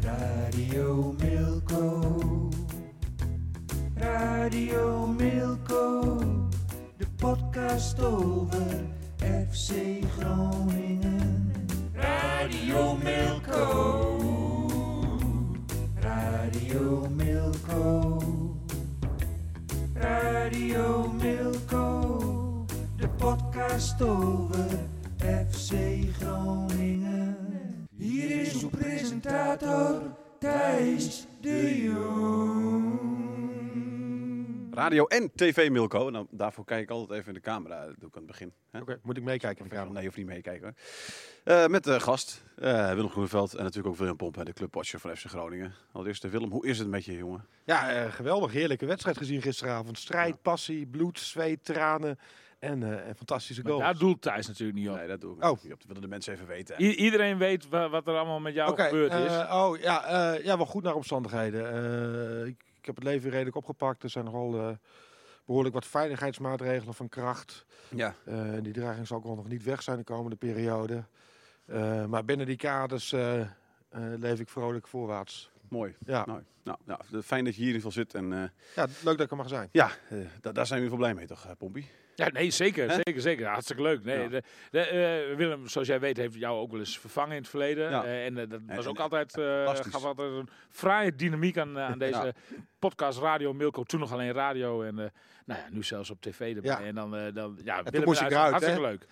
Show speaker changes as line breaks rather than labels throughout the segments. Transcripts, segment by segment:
Radio Milko. Radio Milko. De podcast over FC Groningen. Radio Milko. Radio Milko. Radio Milko. De podcast over FC Groningen. Hier is uw presentator Thijs de Jong.
Radio en TV Milko. En dan, daarvoor kijk ik altijd even in de camera. Dat doe ik aan het begin. Hè?
Oké, moet ik meekijken
Ja,
vanavond?
nee, je hoeft niet meekijken. hoor. Eh, met de gast eh, Willem Groeneveld en natuurlijk ook Willem Pomp, hè, de clubwatcher van FC Groningen. Allereerst, eh, Willem, hoe is het met je, jongen?
Ja, eh, geweldig. Heerlijke wedstrijd gezien gisteravond. Strijd, passie, bloed, zweet, tranen en eh, en fantastische
Maar
goals.
daar doelt Thijs natuurlijk niet op.
Nee, dat doe ik
Oh.
niet op. Dat willen de mensen even weten. hè.
I- iedereen weet wa- wat er allemaal met jou
Oké,
gebeurd is.
eh, oh ja, eh, ja, wel goed naar omstandigheden. Eh, ik, ik heb het leven redelijk opgepakt. Er zijn nogal eh, behoorlijk wat veiligheidsmaatregelen van kracht.
Ja.
Eh, en die dreiging zal ook wel nog niet weg zijn de komende periode. Eh, maar binnen die kaders eh, eh, leef ik vrolijk voorwaarts.
Mooi.
Ja.
Nou, nou, nou, de- fijn dat je hier in ieder geval zit. En eh,
ja, leuk dat ik er mag zijn.
ja, eh, da- daar zijn we in ieder geval blij mee, toch, eh, Pompie?
Ja, nee, zeker,
Hè?
zeker, zeker. Hartstikke leuk. Nee,
Ja.
de, de, eh, Willem, zoals jij weet, heeft jou ook wel eens vervangen in het verleden.
Ja.
Eh, en eh, dat was
en-
ook altijd, eh,
fantastisch.
gaf altijd een fraaie dynamiek aan, eh, aan deze podcast Radio Milko. Toen nog alleen radio en eh, nou ja, nu zelfs op tv erbij.
Ja.
En dan, eh, dan ja, Willem,
toen moest ik
hartst-
eruit,
hartstikke leuk.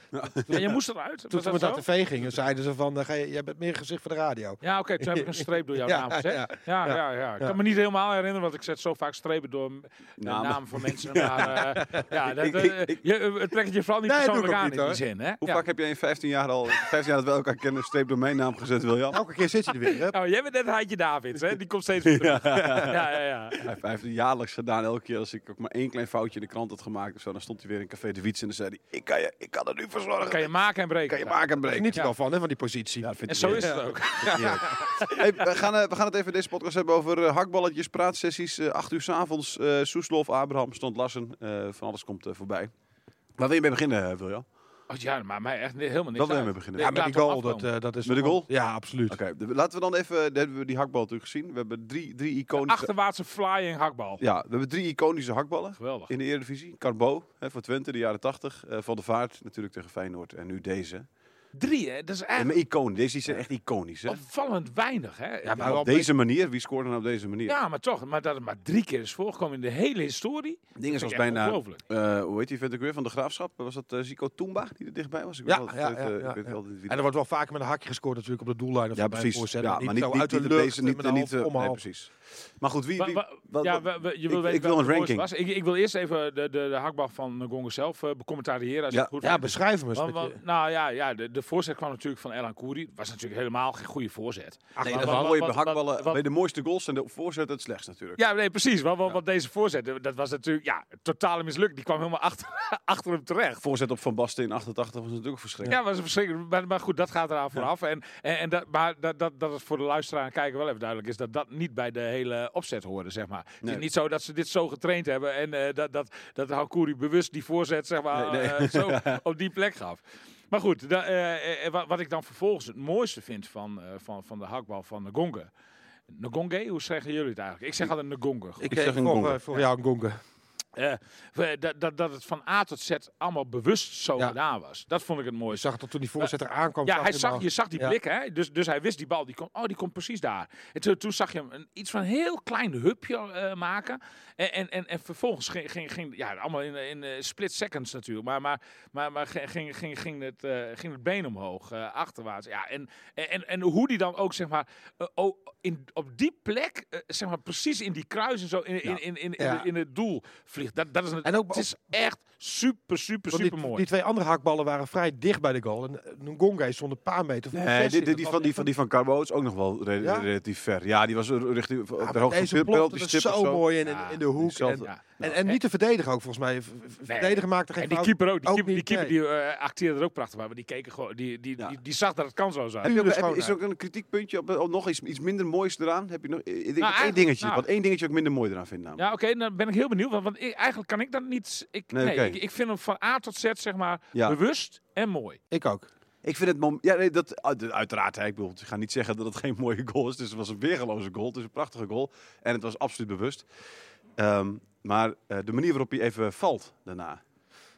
Ja, je moest eruit. Was
Toen we
dat
naar
zo?
tv gingen, zeiden ze van, eh, ga je- jij bent meer gezicht voor de radio.
Ja, oké, toen heb ik een streep door jouw
Ja,
naam gezet.
ja,
Ja, ja,
ja.
ja, Ik
Ja.
kan me niet helemaal herinneren, want ik zet zo vaak strepen door m- de
Namen.
naam, van mensen. Maar, eh, ja, dat,
Nou, Ik-
eh,
ik- ik-
je, eh, het trekt je vooral niet
Nee, doe ik
persoonlijk
ook
aan
niet,
in die
hoor.
zin. Hè?
Hoe
Ja.
vaak heb je in 15 jaar al, 15 jaar dat we elkaar kennen, streep door mijn naam gezet, William?
Elke keer zit je er weer, hè?
Nou, jij bent net Haatje Davids, hè? die komt steeds weer terug. Ja, ja, ja.
Hij heeft, hij heeft het jaarlijks gedaan. Elke keer als ik ook maar één klein foutje in de krant had gemaakt of zo, dan stond hij weer in Café de Wiets en dan zei hij, ik kan, je, ik kan er nu voor zorgen.
Kan je maken en breken.
kan je maken en breken.
Geniet er
Ja.
wel van, hè, van die positie.
Ja, vindt
En
hij
zo
leuk.
is het ook.
Hey, we, gaan, eh, we gaan het even in deze podcast hebben over eh, hakballetjes, praatsessies. eh 8 uur s'avonds, eh Soeslof, Abraham, Stond Lassen. eh, van alles komt eh, voorbij. Waar wil je mee beginnen, eh, Wiljan?
Oh, ja, maar mij echt ni- helemaal niks
Wat wil je
uit.
mee beginnen?
Nee,
Ja,
ik
met
laat
die
hem
goal, dat,
afkomen.
eh, dat is...
Met de goal?
Ja, absoluut.
Oké, de- laten we dan even... Dan hebben we die hakbal natuurlijk gezien. We hebben drie, drie iconische...
Achterwaartse flying hakbal.
Ja, we hebben drie iconische hakballen
Geweldig.
in de Eredivisie. Carbo hè, voor Twente, de jaren 80. eh, Van de Vaart natuurlijk tegen Feyenoord. En nu deze.
Drie, hè? dat is
En
eigenlijk
maar icoon. Deze zijn echt iconisch, hè?
opvallend weinig. Hè? Ja,
maar wel-
op deze manier. Wie scoort dan
nou
op deze manier?
ja, maar toch, maar dat het maar drie keer is voorgekomen in de hele historie.
Dingen
vind
zoals
ik echt
bijna,
ongelooflijk.
eh hoe heet die vent ook weer, van de Graafschap? Was dat eh, Zico Toomba die er dichtbij was? Ik
Ja,
weet wel
ja,
altijd,
ja,
eh,
ja,
ik weet
ja.
wel altijd wie
En er wordt wel vaker met een hakje gescoord natuurlijk op de doellijn. Of
ja,
bij een
precies.
voorzet,
Ja, maar niet,
zo
niet,
uit de
niet
lucht,
deze, niet,
met een
niet
half
eh, nee,
omhaal.
precies. Maar goed, wie...
Wa-
wie
wa-
wat-
ja,
wat-
wa- wa- je
ik-
wil weten
ik wil
welke
een
mooiste
ranking.
was. Ik, ik wil eerst even de, de, de hakbal van Gongen zelf eh, becommentariëren. Als
Ja.
je het goed
Ja,
vindt.
beschrijf hem eens.
Want-
met
want-
je-
nou ja, ja de, de voorzet kwam natuurlijk van Elan Koeri. Het was natuurlijk helemaal geen goede voorzet.
nee,
wa-
dat
wa-
is mooie
wa- wa-
behakballen.
wa-
Bij de mooiste goals en de voorzet het slechtst natuurlijk.
Ja, nee, precies. Want, want, want deze voorzet, eh, dat was natuurlijk ja, totale mislukking. Die kwam helemaal achter, achter hem terecht.
Voorzet op Van Basten in 88 was natuurlijk verschrikkelijk.
Ja, was verschrikkelijk. Maar, maar goed, dat gaat eraan vooraf. En, en, en dat, maar dat, dat, dat het voor de luisteraar en kijker wel even duidelijk is dat dat niet bij de hele opzet hoorde, zeg maar. Het
Nee.
is niet zo dat ze dit zo getraind hebben en eh, dat, dat, dat Hakouri bewust die voorzet, zeg maar,
Nee, nee.
eh, zo op die plek gaf. Maar goed, da- eh, eh, wat, wat ik dan vervolgens het mooiste vind van, eh, van, van de hakbal van Ngonge. Ngonge, hoe zeggen jullie het eigenlijk? Ik zeg altijd Ngonge. goed.
Ik
zeg
zeg
een
voor,
gongen.
eh, voor jou een gongen.
Eh, we- dat, dat, dat het van A tot Z allemaal bewust zo
Ja.
gedaan was. Dat vond ik het
Je
mooiste.
zag dat toen die voorzitter aankwam.
Ja, hij zag, je zag die
Ja.
blik, hè? Dus, dus hij wist die bal, die komt, oh, die komt precies daar. En toen, toen zag je hem een, iets van een heel klein hupje eh, maken. En, en, en, en vervolgens ging, ging, ging ja, allemaal in, in eh, split seconds natuurlijk, maar, maar, maar, maar ging, ging, ging, ging het, eh, ging het been omhoog, eh, achterwaarts. Ja, en, en, en- en hoe die dan ook, zeg maar, eh, o- in, op die plek, eh, zeg maar, precies in die kruis en zo, in, in, in, in, in,
Ja.
in het doel vliegt. vliegt. Dat, dat is een,
En ook-
het is echt super, super,
Want die-
super mooi.
Die twee andere hakballen waren vrij dicht bij de goal. En eh, Ngonga is zonder een paar meter van de
Nee,
versie.
die, die,
Dat
die
was
van, die,
echt
van, die van Carbo is ook nog wel re-
Ja?
relatief ver. Ja, die was er- richting op
een-
de
Ja, maar
hoogte van
Deze
de penalty
plopte er
stip
zo
of zo.
mooi in, in,
Ja,
in de hoek. En,
diezelfde.
Ja.
en, en niet te verdedigen ook, volgens mij. V- v- Verdedigen maakte geen
En die
fout.
keeper ook. Die
Ook
keeper, die,
niet,
keeper die, eh, acteerde er ook prachtig bij. Maar die, keken gewoon, die, die,
Ja.
die, die zag dat het kansloos was.
Heb je dus eh, ook- heb
Pure
je- is er
schoonheid.
ook een kritiekpuntje op, op nog iets, iets minder moois eraan? Heb je nog, eh, ik denk
Nou,
één
eigenlijk-
dingetje.
nou.
Wat één dingetje ook minder mooi eraan vind
Ja,
namelijk.
oké, dan ben ik heel benieuwd. Want, want ik- eigenlijk kan ik dat niet. Ik,
Nee,
nee,
oké.
ik, ik vind hem van A tot Z, zeg maar,
Ja.
bewust en mooi.
Ik ook.
Ik vind het mom- ja, nee, dat, ah, d- uiteraard. hè, ik bedoel, ik ga niet zeggen dat het geen mooie goal is. Dus het was een weergeloze goal. Het is een prachtige goal. En het was absoluut bewust. Ehm, maar eh, de manier waarop hij even valt daarna.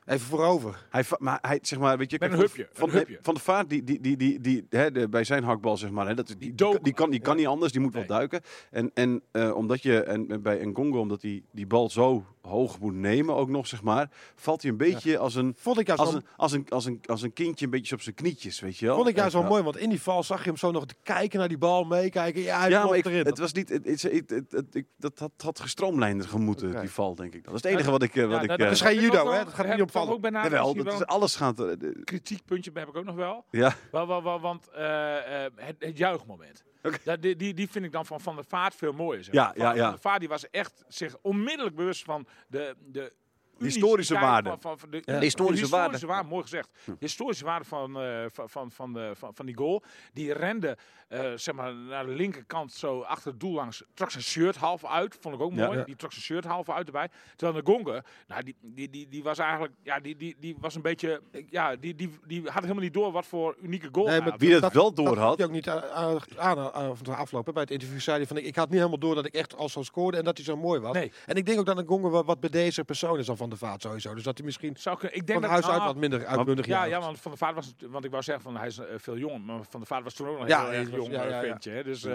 Even voorover.
Hij, va- maar hij, zeg maar, weet je,
Met
kijk,
een
van-
hupje,
Van,
een hupje.
van de vaart, die, die, die, die, die, hè, de- bij zijn hakbal, zeg maar, hè, dat, die, die,
dook.
die kan, die kan niet anders, die moet wel duiken. En, en eh, omdat je, en, en bij Ngongo, omdat hij die bal zo hoog moet nemen ook nog, zeg maar, valt hij een beetje als, een,
Vond ik juist,
als,
wel,
een, als, een, als, een, als een kindje een beetje op zijn knietjes, weet je wel.
vond ik juist wel
Oh, Ja.
mooi, want in die val zag je hem zo nog te kijken naar die bal, meekijken. Ja, hij
Ja, maar
klopt
ik,
erin.
het was niet, het, het, het- het- het- ik- dat had, had gestroomlijnder gemoeten,
Oké.
die val, denk ik. Dat is het enige wat ik... eh, wat
Ja,
ik
dat-
eh,
dat
is geen
ik
judo,
ook wel-
hè, dat gaat
heb
niet
ik toch
opvallen.
ook bijna
jawel,
misschien
dat is,
wel
alles gaat... eh, eh,
een kritiekpuntje heb ik ook nog wel.
Ja,
Wel, wel, wel, want eh, eh, het, het juichmoment.
Oké.
Dat, die, die, die vind ik dan van Van der Vaart veel mooier. Zeg.
Ja,
maar. van,
ja, ja.
Van der Vaart die was echt zich onmiddellijk bewust van de, de
historische
uniciteit
waarde.
Van, van, van de,
De historische waarde. Hm.
waarde, Mooi gezegd. De historische waarde van, eh, van, van, van, de- van, van die goal. Die rende eh, zeg maar, naar de linkerkant zo achter het doel langs. Trok zijn shirt half uit. Vond ik ook
Ja.
mooi.
Ja.
Die trok zijn shirt half uit erbij. Terwijl de Gonge, nou, die, die, die, die was eigenlijk... Ja, die, die, die was een beetje... Ja, die, die, die had helemaal niet door wat voor unieke goal.
Nee,
hij
maar
had.
wie dat,
dat-
wel door
Dat
had...
had hij ook niet aan, aan, aan- aan- van aflopen. Bij het interview zei hij van, ik, ik had niet helemaal door dat ik echt al zo scoorde en dat hij zo mooi was.
Nee.
En ik denk ook dat Ngonga wat, wat bij deze persoon is dan van de vaat sowieso. Dus dat hij misschien
Zou kunnen- ik denk
van
dat
huis uit
ah,
wat minder uitbundig
ja,
juicht.
ja, want van de vader was, het- want ik wou zeggen van hij is eh, veel jonger, maar van de vader was toen ook nog
Ja,
heel
hij
erg
was-
jong
ja,
eh,
ja, ja.
ventje, hè. Dus eh,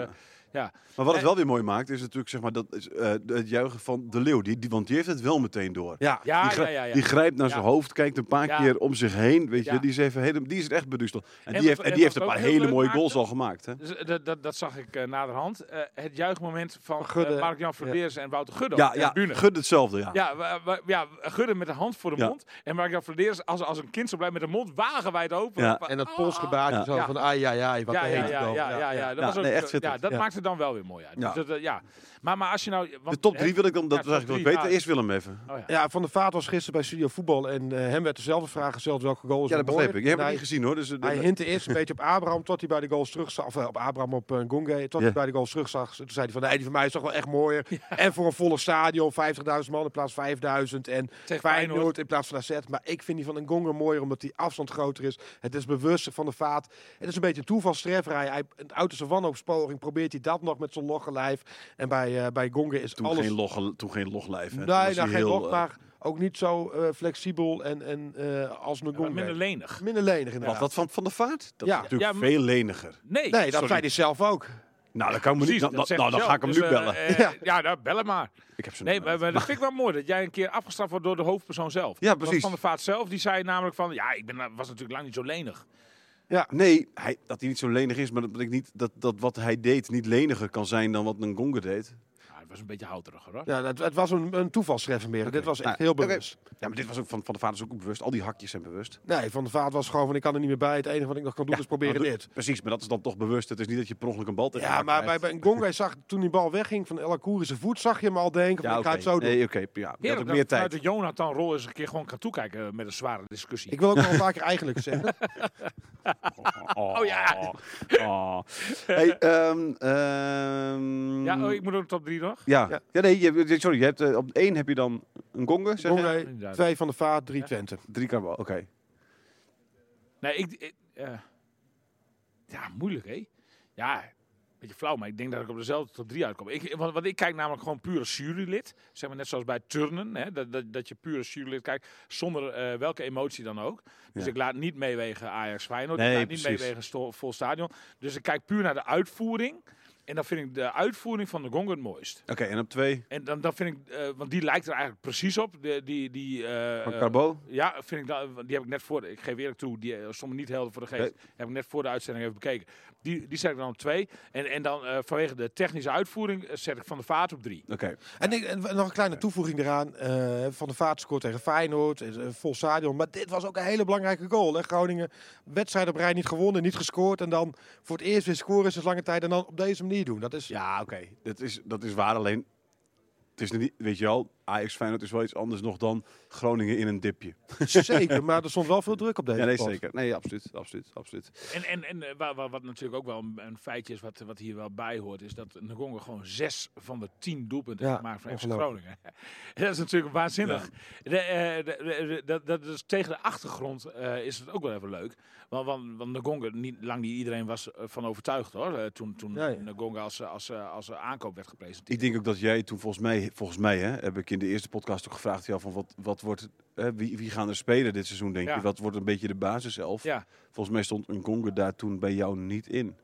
ja,
Maar wat het wel weer mooi maakt, is natuurlijk zeg maar, dat, is, eh, het juichen van de leeuw. Die, die, want die heeft het wel meteen door.
Ja.
ja,
die,
ja,
grij-
ja, ja.
die grijpt naar zijn
Ja.
hoofd, kijkt een paar
Ja.
keer om zich heen. Weet je,
Ja.
die, is even, helemaal- die is echt beduusteld. En,
wat-
die heeft, en
en
die heeft
wat
een paar
ook heel
hele
leuk
mooie
maakte-
goals al gemaakt. Hè?
Dus, eh, dat, dat, dat zag ik eh, naderhand. Eh, het juichmoment van
Gudde.
eh, Mark-Jan Verdeers en Wouter Gudde
Ja,
op de
ja,
tribune.
Gud hetzelfde, ja.
Ja, wa- wa- ja, Gudde met de hand voor de
Ja.
mond. En Mark-Jan Verdeers als, als een kind zo blij met de mond wagenwijd open.
Ja.
Van,
En dat
ah.
polsgebaartje
Ja.
zo
Ja.
van, ai, ai, ai, wat
Ja, ja,
heet
ja,
het dan?
ja, ja, ja.
Ja,
Dat, was ook,
nee, echt
eh, ja,
schitterend.
dat
Ja.
maakt het dan wel weer mooi uit.
Ja.
Dus dat, eh, ja. Maar, maar als je nou... Want,
De top
hè,
drie wil ik dan, dat
ja,
was eigenlijk
top
nog
drie,
weten.
ja.
Eerst Willem even.
oh ja.
Ja, Van der Vaat was gisteren bij Studio Voetbal en eh, hem werd dezelfde vraag gesteld welke goal is
Ja,
er
dat begreep
mooier.
ik.
Nou,
Je hebt
En
het
hij-
niet gezien hoor. Dus, eh,
Hij
dat-
hintte eerst een beetje op Abraham, tot hij bij de goals terugzag. Of eh, op Abraham, op Gonge, Tot
Ja.
hij bij de goals terugzag. Toen zei hij van, nee, die van mij is toch wel echt mooier. En voor een volle stadion, 50.000 man in plaats van 5.000. En
Tegen Feyenoord.
Feyenoord in plaats van AZ. Maar ik vind die van een Gonge mooier, omdat die afstand groter is. Het is bewuster van de vaat. Het is een beetje een toevalstreffer. Hij, hij, een auto's wanhoopspoging probeert hij dat nog met zijn logge lijf. En bij, eh, bij Gonge is
toen,
alles...
geen log, toen geen loglijf. hè.
Nee,
Toen was
nou,
hij
geen
heel,
log,
eh,
maar ook niet zo eh, flexibel en, en eh, als een
Maar
Gonge.
minder lenig.
Minder lenig inderdaad.
Wat, wat van, van de vaart? Dat
Ja.
is natuurlijk
Ja, maar-
veel leniger.
Nee,
Nee, dat
sorry.
zei hij zelf ook.
Nou, dan, kan ik me niet,
Precies,
dan,
dat
dan-
zegt
nou, dan
hij
ga ik hem
zelf.
nu
Dus, eh,
bellen.
eh, ja, nou, bellen maar.
Ik heb zo'n
Nee, maar, maar dat vind ik wel mooi dat jij een keer afgestraft wordt door de hoofdpersoon zelf.
Ja,
Want
precies.
Van der Vaart zelf, die zei namelijk van, ja, ik ben, was natuurlijk lang niet zo lenig.
Nee, hij, dat hij niet zo lenig is, maar dat, betekent niet, dat, dat wat hij deed niet leniger kan zijn dan wat een gonger deed.
Nou, het was een beetje houteriger hoor.
Ja, dat, het was een, een toevalstreffer meer. Dit was echt
Nou,
heel
oké.
bewust.
Ja, maar dit was ook van, van de vaders ook bewust. Al die hakjes zijn bewust.
Nee, Van de Vaart was gewoon van ik kan er niet meer bij. Het enige wat ik nog kan doen is dus proberen
Nou,
dit.
Precies, maar dat is dan toch bewust. Het is niet dat je per ongeluk een bal tegen
Ja,
elkaar
maar bij,
krijgt.
bij Ngonga zag toen die bal wegging van El Akouri zijn voet, zag je hem al denken van
Ja,
ik ga het
oké.
zo doen.
Nee, oké. ja, je had ook
Heerlijk
meer
dat
tijd.
vanuit de Jonathan-rol eens een keer gewoon kan toekijken eh, met een zware discussie.
Ik wil ook wel een paar keer eigenlijk zeggen.
Oh, ja.
oh. Hey, ehm, ehm,
ja, oh, ik moet ook top drie nog.
ja.
Ja.
Ja, nee, je, sorry. Je hebt, eh, op één heb je dan een gonger, zeg je?
Ngonga,
inderdaad.
twee Van de Vaart, drie Twente.
Drie kan wel, oké.
Nee, ik... ik, eh, ja, moeilijk hè. Ja, beetje flauw, maar ik denk dat ik op dezelfde top drie uitkom. Ik, want, want ik kijk namelijk gewoon puur als jurylid. Zeg maar net zoals bij turnen, hè, dat, dat, dat je puur als jurylid kijkt. Zonder eh, welke emotie dan ook. Dus
Ja.
ik laat niet meewegen Ajax Feyenoord.
Nee,
ik laat
precies.
niet meewegen sto- vol stadion. Dus ik kijk puur naar de uitvoering. En dan vind ik de uitvoering van de Gong het mooist.
Oké, en op twee
En dan, dan vind ik, eh, want die lijkt er eigenlijk precies op. De, die, die, eh,
van
eh,
Carbo.
ja, vind ik dan, want die heb ik net voor de, ik geef eerlijk toe, die eh, stonden niet helder voor de geest.
Nee.
Heb ik net voor de uitzending even bekeken. Die, die zet ik dan op twee. En, en dan eh, vanwege de technische uitvoering eh, zet ik Van der Vaart op drie.
Oké.
En, ik- en nog een kleine toevoeging eraan. eh, van der Vaart scoort tegen Feyenoord, eh, vol stadion. Maar dit was ook een hele belangrijke goal. Hè? Groningen, wedstrijd op rij niet gewonnen, niet gescoord. En dan voor het eerst weer scoren sinds lange tijd. En dan op deze manier doen. Dat is,
Ja, oké. Dat, is, dat is waar. Alleen, het is niet, weet je wel, Ajax Feyenoord is wel iets anders nog dan Groningen in een dipje.
Zeker, maar er stond wel veel druk op deze
Ja, nee,
pot.
zeker. Nee, absoluut, absoluut, absoluut.
En, en, en eh, wa- wa- wat natuurlijk ook wel een, een feitje is, wat, wat hier wel bij hoort, is dat Ngongo gewoon zes van de tien doelpunten
Ja,
heeft gemaakt van FC
ongelooflijk.
Groningen. dat is natuurlijk waanzinnig. De, eh, de- de- de- dat, dat is tegen de achtergrond eh, is het ook wel even leuk. Want, want, want Ngongo, niet, lang niet iedereen was eh, van overtuigd hoor, eh, toen, toen
Nee.
Ngongo als, eh, als, eh, als eh, aankoop werd gepresenteerd.
Ik denk ook dat jij toen volgens mij, volgens mij hè, heb ik in de eerste podcast ook gevraagd, jou van wat, wat wordt, hè, wie, wie gaan er spelen dit seizoen, denk
Ja.
je? Wat wordt een beetje de basiself?
Ja,
Volgens mij stond een Congo daar toen bij jou niet in.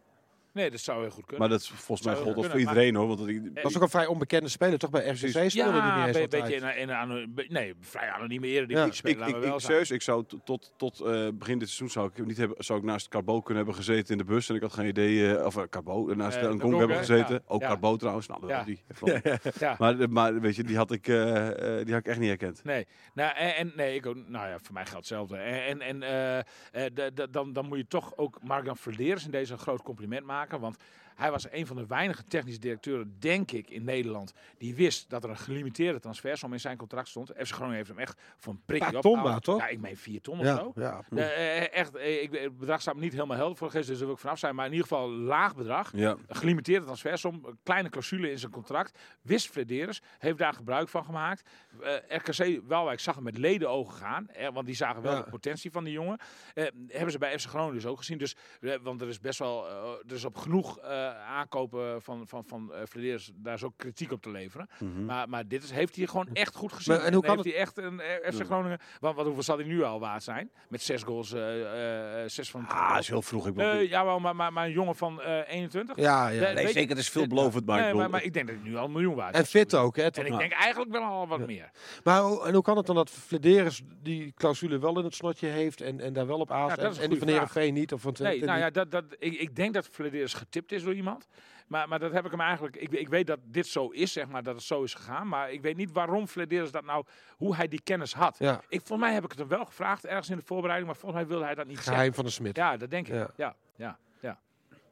nee, dat zou heel goed kunnen.
Maar dat is volgens mij
Zou
gold dat voor
kunnen, maar-
iedereen hoor. Want dat ik,
Eh,
was ook een vrij onbekende speler, toch? Bij RCC speelde die
ja,
niet eens
een
altijd.
beetje in, in, aan- be- nee, vrij anonieme eredivisie
Ja.
ja.
Ik-
ik,
spelen,
ik,
laten we wel
ik,
zijn.
serieus, ik zou t- tot, tot eh, begin dit seizoen zou ik, niet hebben, zou ik naast Carbo kunnen hebben gezeten in de bus. En ik had geen idee, eh, of eh, Carbo, eh, naast
Eh,
een
de
Congo
Congo,
hebben
hè?
gezeten.
Ja.
Ook
Ja.
Carbo trouwens. Nou,
Ja.
die, heeft wel-
Ja.
maar, eh, maar weet je, die had ik, eh, eh, die had ik echt niet herkend.
Nee, nou, en, en- nee, ik ook, nou ja, voor mij geldt hetzelfde. En, en, en eh, eh, d- d- dan, dan moet je toch ook Margan Verdeers in deze een groot compliment maken. Want hij was een van de weinige technische directeuren, denk ik, in Nederland. Die wist dat er een gelimiteerde transfersom in zijn contract stond. FC Groningen heeft hem echt voor een prikje
Paar
op.
ton maar, toch?
Ja, ik meen vier ton of
Ja,
zo.
ja.
Eh, eh, echt, eh, ik, het bedrag staat me niet helemaal helder voor de geest, dus daar wil ik vanaf zijn. Maar in ieder geval een laag bedrag.
Ja.
Een gelimiteerde transfersom, een kleine clausule in zijn contract. Wist Flederis, heeft daar gebruik van gemaakt. Eh, RKC Waalwijk zag hem met leden ogen gaan, eh, want die zagen wel
Ja.
de potentie van die jongen. Eh, hebben ze bij FC Groningen dus ook gezien. Dus, eh, want er is best wel, eh, er is op genoeg eh, aankopen van, van, van eh Flederis, daar is ook kritiek op te leveren. Maar, maar dit is, heeft hij gewoon echt goed gezien.
Mhm. Maar en hoe kan
heeft hij echt een eh, FC Groningen, want, want hoeveel zal hij nu al waard zijn? Met zes goals, eh, eh, zes van...
Ah, is heel vroeg. Ik bedoel,
Eh, jawel, maar, maar, maar een jongen van eh 21?
Ja, ja.
Nee,
nee,
weet je-
zeker, het is veelbelovend, maar, ik
nee,
bedoel,
maar, maar ik denk dat hij nu al een miljoen waard is.
En fit ook, hè?
En ik denk eigenlijk wel al wat meer.
Maar hoe, en hoe kan het dan dat Flederis die clausule wel in het snotje heeft en, en daar wel op aast
Ja, dat is
en, en
een
die
goede
van
vraag.
Heerenveen niet? Of van Twente
Nee, nou
niet?
ja, dat, dat, ik, ik denk dat Flederis getipt is door iemand. Maar, maar dat heb ik hem eigenlijk... Ik, ik weet dat dit zo is, zeg maar, dat het zo is gegaan. Maar ik weet niet waarom Flederis dat nou... Hoe hij die kennis had.
Ja.
Ik, volgens mij heb ik het hem wel gevraagd ergens in de voorbereiding. Maar volgens mij wilde hij dat niet
Geheim van de Smit.
zeggen. Ja, dat denk ik.
Ja.
Ja, ja, ja.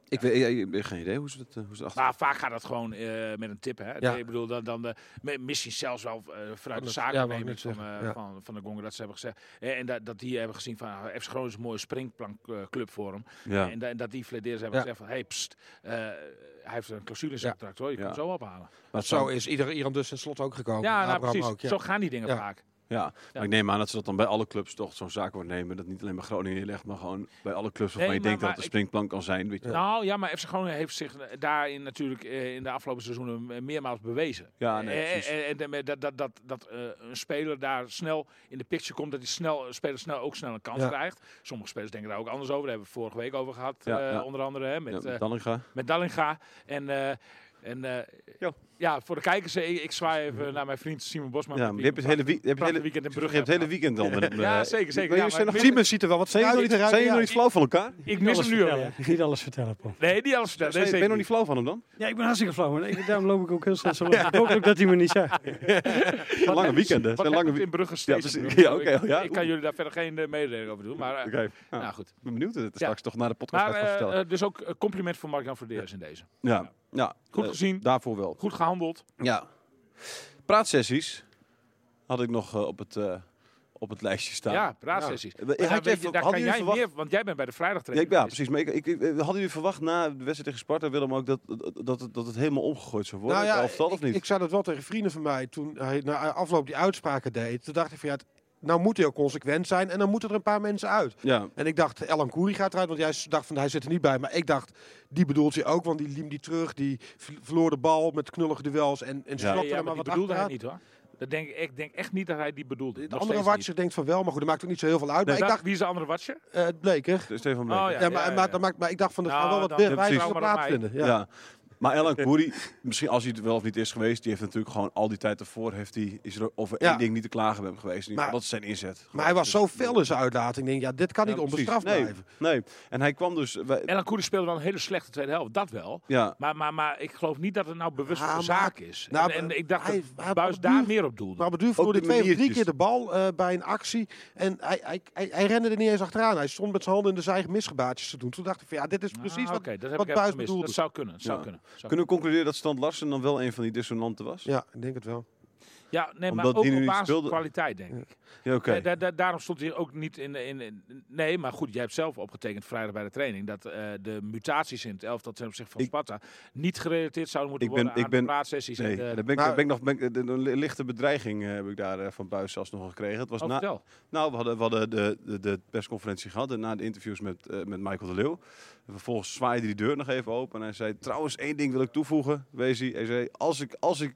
ik, weet, ik, ik heb geen idee hoe ze dat eh, hoe ze dat
Maar nou, vaak gaat dat gewoon eh, met een tip. Hè?
Ja.
Ik bedoel, dan, dan de, mi- misschien zelfs wel eh, vanuit de
het-
zaak
ja, wou ik
van, eh,
net zeggen, ja.
van, van de Gonger dat ze hebben gezegd. Eh, en dat, dat die hebben gezien van ah, FC Groningen is een mooie springplankclub voor hem.
Ja.
En, da- en dat die fledeers hebben
Ja.
gezegd van, hey, pst, eh, hij heeft een clausule in zijn
Ja.
contract hoor, je
Ja.
kan hem zo ophalen.
Maar
Zo
dan-
is ieder Iran dus in slot ook gekomen.
ja, nou,
Abraham
precies.
ook, ja.
Zo gaan die dingen
Ja.
vaak.
Ja, maar ik neem aan dat ze dat dan bij alle clubs toch zo'n zaak wordt nemen. Dat niet alleen bij Groningen neerlegt, maar gewoon bij alle clubs waarvan je
Nee, maar-
denkt dat
maar
het een
ik-
springplank kan zijn. Weet je. Ja.
Nou ja, maar FC Groningen heeft zich daarin natuurlijk eh, in de afgelopen seizoenen eh, meermaals bewezen.
Ja, nee,
Eh,
precies.
eh, en daarmee dat, dat, dat, dat eh, een speler daar snel in de picture komt, dat die snel, een speler snel, ook snel een kans
Ja.
krijgt. Sommige spelers denken daar ook anders over. Daar hebben we het vorige week over gehad,
Ja,
eh,
ja.
onder andere hè,
Ja,
met, eh,
met Dallinga.
met Dallinga. En, eh, en eh,
Ja.
ja, voor de kijkers, eh, ik zwaai even naar mijn vriend Simon Bosman.
Ja, maar je hebt het hele, wie- je hebt het hele,
weekend in
je
Brugge.
hebt het hele weekend dan. met-
Ja,
eh,
zeker, zeker.
maar
Ja,
jullie zijn
maar
nog-
ik mis-
Siemens ziet er wel wat
Zijn jullie
schuin
nog niet- zijn jullie nog niet flauw van elkaar?
ik mis hem nu al.
vertellen. Niet alles vertellen, Paul.
Nee, niet alles vertellen.
Ben
Nee,
je nog
zeker
niet flauw van hem dan?
Ja, ik ben hartstikke flauw. man. Ik, daarom loop ik ook heel snel zo. Ik hoop ook dat hij me niet zei.
Wat
lange
hebben ze-
weekenden.
Wat
Zijn
hebben
lange
ze
wie-
in Brugge steeds.
precies.
bedoeld?
Ja, oké,
Ik-
ja.
Ik kan jullie daar verder geen eh, mededeling over doen. Maar, eh,
Oké. ja.
nou goed.
Ik ben benieuwd dat het
Ja.
straks toch na de podcast
Maar
gaat
eh,
vertellen.
eh, dus ook eh, compliment voor Mark-Jan Verderes in deze.
ja, ja,
Goed
eh,
gezien.
Daarvoor wel.
Goed gehandeld.
Ja. Praatsessies had ik nog eh, op, het, eh, op het lijstje staan.
Ja, praatsessies.
Ja.
Maar
Had
daar
je
weet
even-
je- daar
hadden
kan
jullie
jij
verwacht-
meer, want jij bent bij de
Ja,
vrijdagtraining.
ik, ja, precies. Maar ik, ik, ik- eh, hadden jullie verwacht na de wedstrijd tegen Sparta, Willem, ook dat, dat, dat, het- dat het helemaal omgegooid zou worden? het elftal, of
Nou ik,
niet?
ik zei dat wel tegen vrienden van mij toen hij na afloop die uitspraken deed. Toen dacht ik van ja, het- nou moet hij ook consequent zijn en dan moeten er een paar mensen uit.
ja.
En ik dacht, Elan Koeri gaat eruit, want jij s- dacht van hij zit er niet bij. Maar ik dacht, die bedoelt hij ook, want die liem die terug. Die v- verloor de bal met knullige duels en, en
Nee,
snapte
ja,
er
maar
maar
die
wat
bedoelde hij
achteraan.
niet hoor. Dat denk ik, ik denk echt niet dat hij die bedoelde.
De andere watcher denkt van wel, maar goed, dat maakt ook niet zo heel veel uit. maar ik dacht,
Wie is de andere watcher?
eh, het bleek er.
Stefan
Oh,
Bleker.
ja.
Ja, maar, maar, dat maakt, maar ik dacht van, er gaan
Nou,
wel wat
dan-
wijzigingen
Ja, precies.
plaatsvinden.
Ja.
Ja.
Maar Elan Koeri, misschien als hij het wel of niet is geweest, die heeft natuurlijk gewoon al die tijd ervoor, heeft hij, is er over
Ja.
één ding niet te klagen bij hem geweest. In ieder geval,
Maar-
dat is zijn inzet.
Maar hij was zo fel in zijn uitlating. Ik denk, ja, dit kan niet onbestraft
nee,
blijven.
Nee, en hij kwam dus... wij-
Elan Koeri speelde wel een hele slechte tweede helft, dat wel.
ja,
Maar, maar, maar ik geloof niet dat het nou bewust
Ja,
een
maar-
zaak is.
nou,
en, en
eh,
ik dacht
hij-
dat
hij-
Buis
Abdu-
daar meer op doelde.
Maar Bedu verloor
de
hij twee of drie
maniertjes.
keer de bal eh, bij een actie. En hij, hij, hij, hij rende er niet eens achteraan. Hij stond met zijn handen in de zijg misgebaatjes te doen. Toen dacht ik van ja, dit is
Ah,
precies wat...
oké, dat heb
wat
ik even
Buijs
gemist.
bedoelde.
Dat zou kunnen. dat zou
Ja.
kunnen. zou
kunnen we concluderen dat Stant Larsen dan wel een van die dissonanten was?
Ja, ik denk het wel.
Ja, nee, maar
Omdat
ook
die nu
op
niet
basis van
speelde.
kwaliteit, denk ik.
Ja, oké.
Eh, da- da- daarom stond hij ook niet in, de- in, in- Nee, maar goed, jij hebt zelf opgetekend vrijdag bij de training... dat eh, de mutaties in het elftal ten opzichte van
Ik-
Sparta... niet gerelateerd zouden moeten
Ik ben-
worden
ik
aan
ben-
de praatsessies.
Nee,
en,
daar ben ik,
nou-
daar ben ik nog, ben ik- de- de- een lichte bedreiging eh, heb ik daar eh, van Buis zelfs nog gekregen. Het was na,
Oh, vertel.
Nou, we hadden, we hadden de, de, de persconferentie gehad en na de interviews met, eh, met Michael de Leeuw. En vervolgens zwaaide hij die deur nog even open en hij zei... Trouwens, één ding wil ik toevoegen, Wezi. Hij zei, als, ik, als, ik,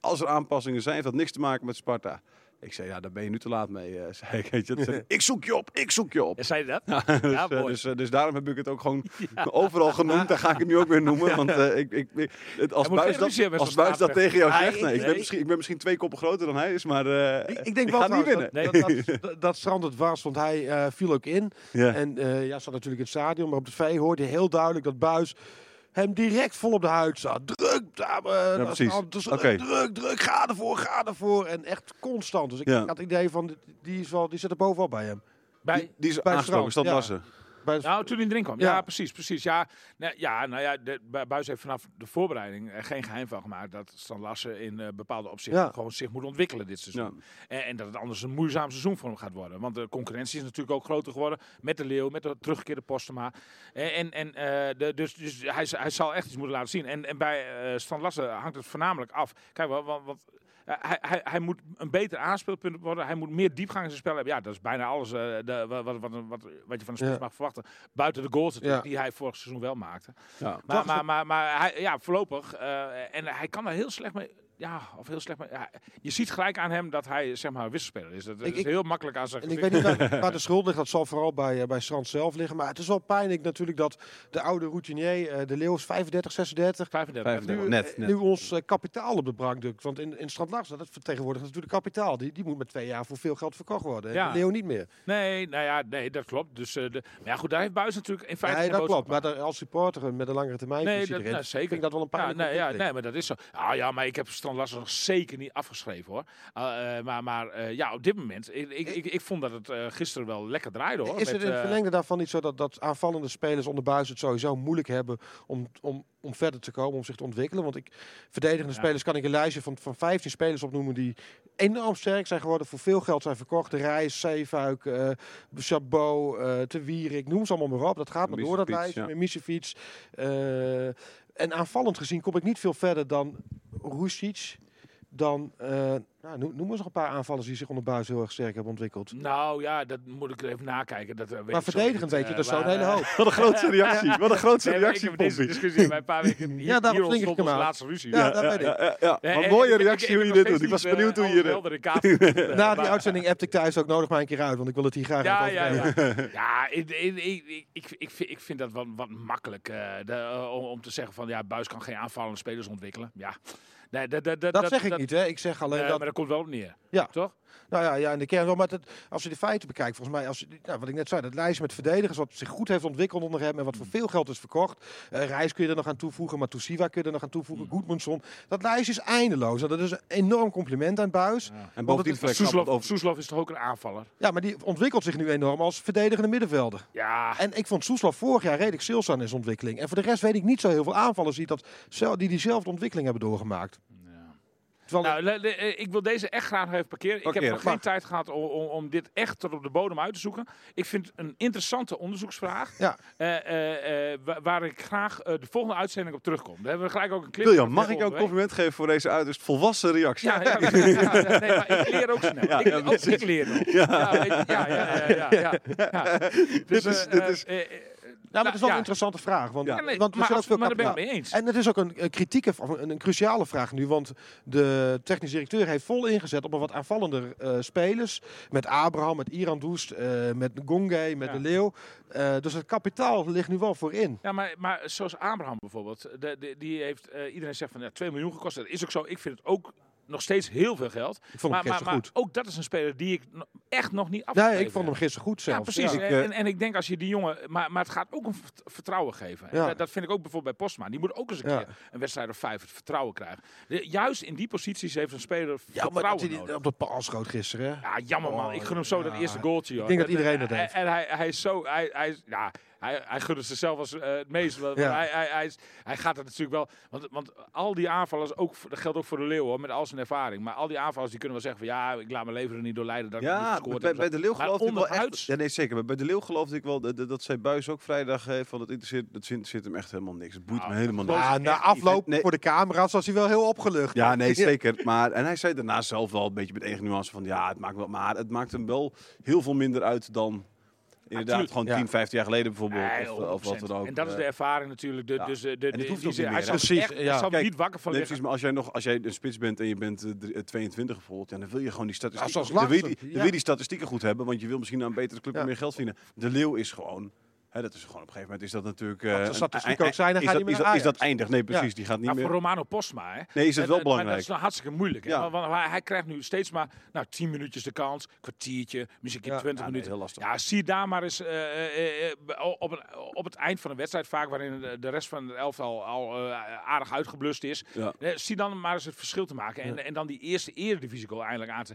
als er aanpassingen zijn, heeft dat niks te maken met Sparta. Ik zei, ja, daar ben je nu te laat mee, eh, zei ik. Weet je. Dat zei hij, ik zoek je op, ik zoek je op.
Ja, zei je dat?
Dus,
Ja,
eh,
mooi.
dus, eh, dus daarom heb ik het ook gewoon overal genoemd. Daar ga ik het nu ook weer noemen. Want eh, ik, ik, ik- het, als
Hij moet
Buis
geen ruzie
dat,
hebben
als
met zo'n
Buijs dat
staatsrecht.
tegen jou
Ah,
zegt,
ik-
nee, ik, ben
nee.
misschien, ik ben misschien twee koppen groter dan hij is, maar eh,
Ik, ik denk wel
ga niet
trouwens
winnen.
dat, dat, dat, dat, dat Strand het was, want hij eh, viel ook in.
Ja.
En eh, ja, zat natuurlijk in het stadion, maar op de tv hoorde je heel duidelijk dat Buis hem direct vol op de huid zat. Druk, dame, eh, dat is
precies.
al- dus, eh,
Oké.
druk, druk, ga ervoor, ga ervoor. En echt constant. Dus ik
Ja.
had het idee van, die, is wel, die zit er bovenal bij hem.
Bij,
Die is
Bij
aangesproken,
Strand,
Stad
ja.
Larsen.
Bij de-
nou, toen hij erin kwam. Ja,
Ja.
precies. precies. Ja, nou ja, nou ja de, Bu- Buijs heeft vanaf de voorbereiding er geen geheim van gemaakt... dat Stan Lassen in eh, bepaalde opzichten
Ja.
gewoon zich moet ontwikkelen dit seizoen.
Ja.
En, en dat het anders een moeizaam seizoen voor hem gaat worden. Want de concurrentie is natuurlijk ook groter geworden. Met de Leeuw, met de teruggekeerde Postema. En, en, en, eh, de, dus, dus hij, z- hij zal echt iets moeten laten zien. En, en bij eh Stan Lassen hangt het voornamelijk af. Kijk, wa- wa- want, eh, hij, hij, hij moet een beter aanspeelpunt worden. Hij moet meer diepgang in zijn spel hebben. Ja, dat is bijna alles eh, de, wat, wat, wat, wat, wat je van de spits
Ja.
mag verwachten. Buiten de goals natuurlijk,
Ja.
die hij vorig seizoen wel maakte.
Ja.
Maar, maar, maar, maar hij, ja, voorlopig. eh, en hij kan er heel slecht mee. Ja, of heel slecht mee. ja, je ziet gelijk aan hem dat hij zeg maar een wisselspeler is. Dat, dat
Ik-
is
ik-
heel makkelijk aan zijn
En ik
gezicht.
weet niet waar, waar de schuld ligt, dat zal vooral bij, eh, bij Strand zelf liggen. Maar het is wel pijnlijk natuurlijk dat de oude routinier, eh, de Leeuw is 35, 36.
35.
35.
Nu,
Net,
eh,
net.
nu ons eh, kapitaal op de bank drukt. Want in, in Strand Larsen, dat vertegenwoordigt natuurlijk kapitaal. Die, die moet met twee jaar voor veel geld verkocht worden. En
Ja.
de Leeuw niet meer.
Nee, nou ja, nee, dat klopt. Dus, eh, de, maar ja, goed, daar heeft Buis natuurlijk in feite
Nee,
geen
dat
boodschap
klopt. Maar daar- als supporter met een langere termijn
Nee,
visie
dat-
erin,
nou, zeker.
vind ik dat wel een
Ja,
pijnlijke
nee, ja,
ontwikkeling.
nee, maar dat is zo. Ah, ja, maar ik heb Stan Lassen nog zeker niet afgeschreven hoor. Ah, eh, maar maar eh, ja, op dit moment, ik, ik, ik, ik vond dat het eh, gisteren wel lekker draaide hoor.
Is
met,
het in het
eh,
verlengde daarvan niet zo dat, dat aanvallende spelers onder buis het sowieso moeilijk hebben om, om, om verder te komen, om zich te ontwikkelen? Want ik, verdedigende
Ja.
spelers kan ik een lijstje van, van 15 spelers opnoemen die enorm sterk zijn geworden, voor veel geld zijn verkocht. De Rijs, Zeefuik, eh Chabot, eh Te Wierik, noem ze allemaal maar op. Dat gaat maar door dat
Misevic,
lijstje,
ja.
met Misevic. Eh, en aanvallend gezien kom ik niet veel verder dan Rusic, dan, eh, nou, noem, noem eens nog een paar aanvallers die zich onder buis heel erg sterk hebben ontwikkeld.
Nou ja, dat moet ik even nakijken. Dat, eh, weet
Maar
ik zo
verdedigend
niet,
weet je,
eh,
dat is zo'n
maar,
hele
eh,
hoop.
Wat een grootste reactie. Wat een grootste
Nee, maar ik
reactie,
heb deze dus-
Pompie.
discussie bij een paar weken. Hier,
daarom
hier
flink ik
ontstond
hem
onze
uit.
laatste ruzie.
Ja, dat weet ik.
Ja, ja, ja.
Eh,
Wat
eh,
een mooie
ik- ik-
reactie
ik
hoe je
heb
dit
nog
doet. Ik was
steeds niet,
benieuwd
eh,
hoe je...
alles
dit-
helder in kaart hebt. Eh,
Na die
maar-
uitzending appte ik thuis ook nodig maar een keer uit, want ik wil het hier graag
Ja,
even over
ja,
hebben.
ja. ja ik, ik, ik, ik, ik, vind, ik vind dat wat, wat makkelijk eh, de, eh, om, om te zeggen van ja, Buis kan geen aanvallende spelers ontwikkelen. Ja. Nee, dat, dat, dat,
Dat, zeg ik niet, hè. Ik zeg alleen
eh,
dat...
Maar dat komt wel op neer.
Ja.
Toch?
Nou ja, ja, in de kern wel. Maar dat, als je de feiten bekijkt, volgens mij, als, je- nou, wat ik net zei, dat lijstje met verdedigers wat zich goed heeft ontwikkeld onder hem en wat voor
Mm.
veel geld is verkocht. Eh Reis kun je er nog aan toevoegen, Matusiwa kun je er nog aan toevoegen,
Mm.
Goedmundsson. Dat lijstje is eindeloos. Nou, dat is een enorm compliment aan Buis.
En
Want
bovendien
het
verklapt het
Soeslof,
over...
Soeslof is toch ook een aanvaller?
Ja, maar die ontwikkelt zich nu enorm als verdedigende middenvelder.
Ja.
En ik vond Soeslof vorig jaar redelijk sils aan in zijn ontwikkeling. En voor de rest weet ik niet zo heel veel aanvallers die, dat, zel- die diezelfde ontwikkeling hebben doorgemaakt. Terwijl
Nou, le- le- eh, ik wil deze echt graag nog even parkeren. Ik
Parkeren,
heb nog geen
mag.
tijd gehad om, om, om dit echt tot op de bodem uit te zoeken. Ik vind het een interessante onderzoeksvraag.
Ja.
Eh, eh, eh, wa- waar ik graag eh, de volgende uitzending op terugkom. Daar hebben we gelijk ook een clip.
William,
van
mag ik
hebben
jou een
onderweg.
compliment geven voor deze uiterst volwassen reactie?
Ja, ja, ja, ja, nee, maar ik leer ook snel.
Ja,
ik,
ja,
ook
precies.
ik leer nog. Ja, weet je, ja, ja, ja, ja, ja, ja. Dus,
Dit is-
eh,
dit is-
eh, eh,
Nou, maar dat is wel
ja.
een interessante vraag. Want,
Ja, nee,
want er
maar,
zijn ook veel
absoluut, maar daar ben ik
kandidaten.
mee
En
eens.
het is ook een, een kritieke of een, een cruciale vraag nu. Want de technisch directeur heeft vol ingezet op een wat aanvallender eh, spelers. Met Abraham, met Iran Doest, eh, met Gongay, met
Ja.
De Leeuw. Eh, dus het kapitaal ligt nu wel voorin.
Ja, maar, maar zoals Abraham bijvoorbeeld, de, de- die heeft, eh, iedereen zegt van ja, 2 miljoen gekost. Dat is ook zo. Ik vind het ook nog steeds heel veel geld.
Ik vond
maar,
hem
maar,
gisteren
maar
goed.
ook dat is een speler die ik no- echt nog niet af.
nee, ik vond hem gisteren goed zelfs.
Ja, precies.
ja. Ik, eh,
en, en ik denk als je die jongen... Maar, maar het gaat ook een vert- vertrouwen geven. En
Ja.
Dat, dat vind ik ook bijvoorbeeld bij Postma. Die moet ook eens een
Ja.
keer een wedstrijd of vijf het vertrouwen krijgen. De- juist in die posities heeft een speler
Ja, maar dat
vertrouwen
hij die-
nodig.
op de paal schoot gisteren. hè?
Ja, jammer man.
Oh,
Ik gun hem zo dat
ja.
eerste goaltje. Joh.
Ik denk dat
En-
iedereen dat
en-
heeft.
En hij, hij is zo... Hij, hij, is- ja, hij, hij gunt het zichzelf als eh, het meest. want-
Ja.
want Hij, hij, hij, is- hij gaat het natuurlijk wel... Want, want al die aanvallers, ook, voor- dat geldt ook voor de Leeuw hoor, met al zijn ervaring. Maar al die aanvallers die kunnen wel zeggen van... Ja, ik laat mijn leven er niet door leiden dat ik eh, niet
Ja,
gescoord
bij,
heb.
bij de Leeuw
Maar
geloofde ik wel echt...
onderhuids-
Ja, nee, zeker. Maar bij de Leeuw geloofde ik wel dat, dat- dat zij Buis ook vrijdag heeft. Van dat interesseert, dat zit, zit hem echt helemaal niks. Het boeit
Nou,
me helemaal niks.
Ja, na afloop
Nee.
voor de camera's was hij wel heel opgelucht.
Ja, nee, zeker. Maar, en hij zei daarna zelf wel een beetje met enige nuance van... Ja, het maakt wel, maar het maakt hem wel heel veel minder uit dan... Inderdaad,
tuurlijk.
gewoon
Ja.
10, 15 jaar geleden bijvoorbeeld.
Nee,
of, of wat
100%.
dan ook.
En dat is de
Eh,
ervaring natuurlijk. De,
Ja.
Dus eh, de, de,
En het hoeft
die
ook
ze-
niet meer,
hij
hè?
zal
Precies,
echt, hij
ja.
zal
Kijk,
niet wakker van
Nee,
liggen.
precies, maar als jij, nog, als jij een spits bent en je bent eh, drie- eh, 22 bijvoorbeeld, ja, dan wil je gewoon die
Ja, zoals
statistieken, dan wil je die,
Larsen,
dan
ja.
wil je die statistieken goed hebben, want je wil misschien naar een betere club en
Ja.
meer geld verdienen. De Leeuw is gewoon, hè, dat is gewoon op een gegeven moment, is dat natuurlijk... eh,
de
een-
statistieken
een-
ook zijn, dan
is
gaat
dat-
hij
is
meer
dat-
naar
Is dat
Ajax.
eindig? Nee, precies, die gaat niet
Nou, voor
meer...
Romano Postma, hè.
Nee, is het
En-
wel
en- maar Dat
belangrijk.
is nou hartstikke moeilijk, hè.
Ja.
Want- Want hij, hij krijgt nu steeds maar nou, 10 minuutjes de kans, kwartiertje, misschien een keer
Ja.
20
Ja, nee,
minuten.
heel lastig.
Ja, zie daar maar eens eh, eh, eh, b- op, een- op het eind van een wedstrijd vaak, waarin de, de rest van het elftal al eh, aardig uitgeblust is.
Ja.
Eh, zie dan maar eens het verschil te maken en, en dan die eerste eredivisie goal eindelijk aan te...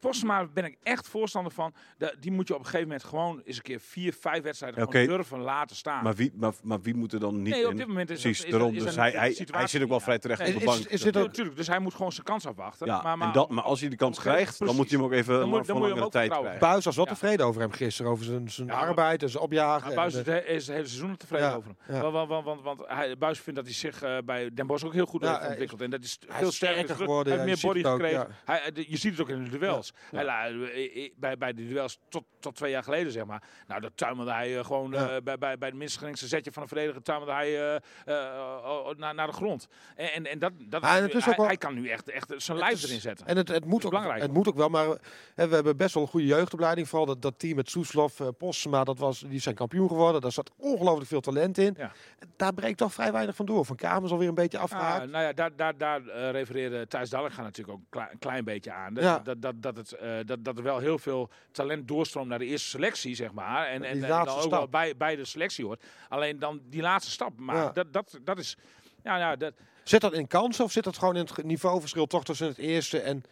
Postma ben ik echt voorstander van, Da- die moet je op een gegeven moment gewoon eens een keer vier, vijf wedstrijden gewoon
Oké.
durven laten staan.
Maar wie, maar, maar wie moet er dan niet
Ah. Nee, op
in?
dit moment is dat-
Precies,
is dat-
daarom.
is
dus
dat
hij,
niet de
hij,
situatie.
hij zit ook wel vrij terecht
Nee,
op de
is-
bank.
is dit
Ja,
ook-
natuurlijk, dus hij moet gewoon zijn kans afwachten.
ja,
maar, maar
en dan, maar als hij de kans
Oké,
krijgt, dan
precies.
moet je hem ook even
Dan moet-
lang-
dan
voor
moet je hem
langere
ook
tijd
vertrouwen.
krijgen.
Buis was wel
Ja.
tevreden over hem gisteren, over zijn, zijn
Ja, maar-
arbeid en zijn opjagen. en
Maar
eh,
Buis
de-
is, het he- is het hele seizoen tevreden
Ja,
over hem.
ja.
Want, want, want, want, want hij, Buis vindt dat hij zich eh, bij Den Bosch ook heel goed
Ja,
heeft
hij is-
ontwikkeld. En dat is
hij is
veel sterker
sterker
terug.
geworden,
Hij
ja,
heeft
je
meer
ziet
body
het ook,
gekregen. Hij, eh, de- je ziet het ook in de duels. Hij la- eh, eh, bij, bij de duels tot, tot twee jaar geleden, zeg maar. Nou, dat tuimelde hij eh, gewoon
Ja.
eh, bij, bij, bij het minst geringste zetje van een verdediger. Tuimelde hij eh, eh, eh, naar, naar de grond. En, en, en dat, dat
Ah, en het is ook
hij,
wel-
hij kan nu echt, echt zijn
Het
lijf
is-
erin zetten.
En het, het, moet
is
ook,
belangrijk.
het moet ook wel, maar hè, we hebben best wel een goede jeugdopleiding. Vooral dat, dat team met Soeslof, eh Postma, dat was, die zijn kampioen geworden. Daar zat ongelooflijk veel talent in.
Ja.
Daar breekt toch vrij weinig van door. Van Kamers alweer een beetje afgehaakt.
Ja, nou ja, daar, daar, daar eh, refereerde Thijs Dallinga natuurlijk ook een klein, een klein beetje aan. Dat,
Ja.
dat, dat, dat, het, eh, dat, dat er wel heel veel talent doorstroomt naar de eerste selectie, zeg maar. En, en,
Die
en dan
laatste
ook wel
stap.
bij, bij de selectie hoort. Alleen dan die laatste stap. Maar
Ja.
dat, dat, dat is... Ja, nou, dat,
Zit dat in kansen of zit dat gewoon in het ge- niveauverschil toch tussen het eerste en...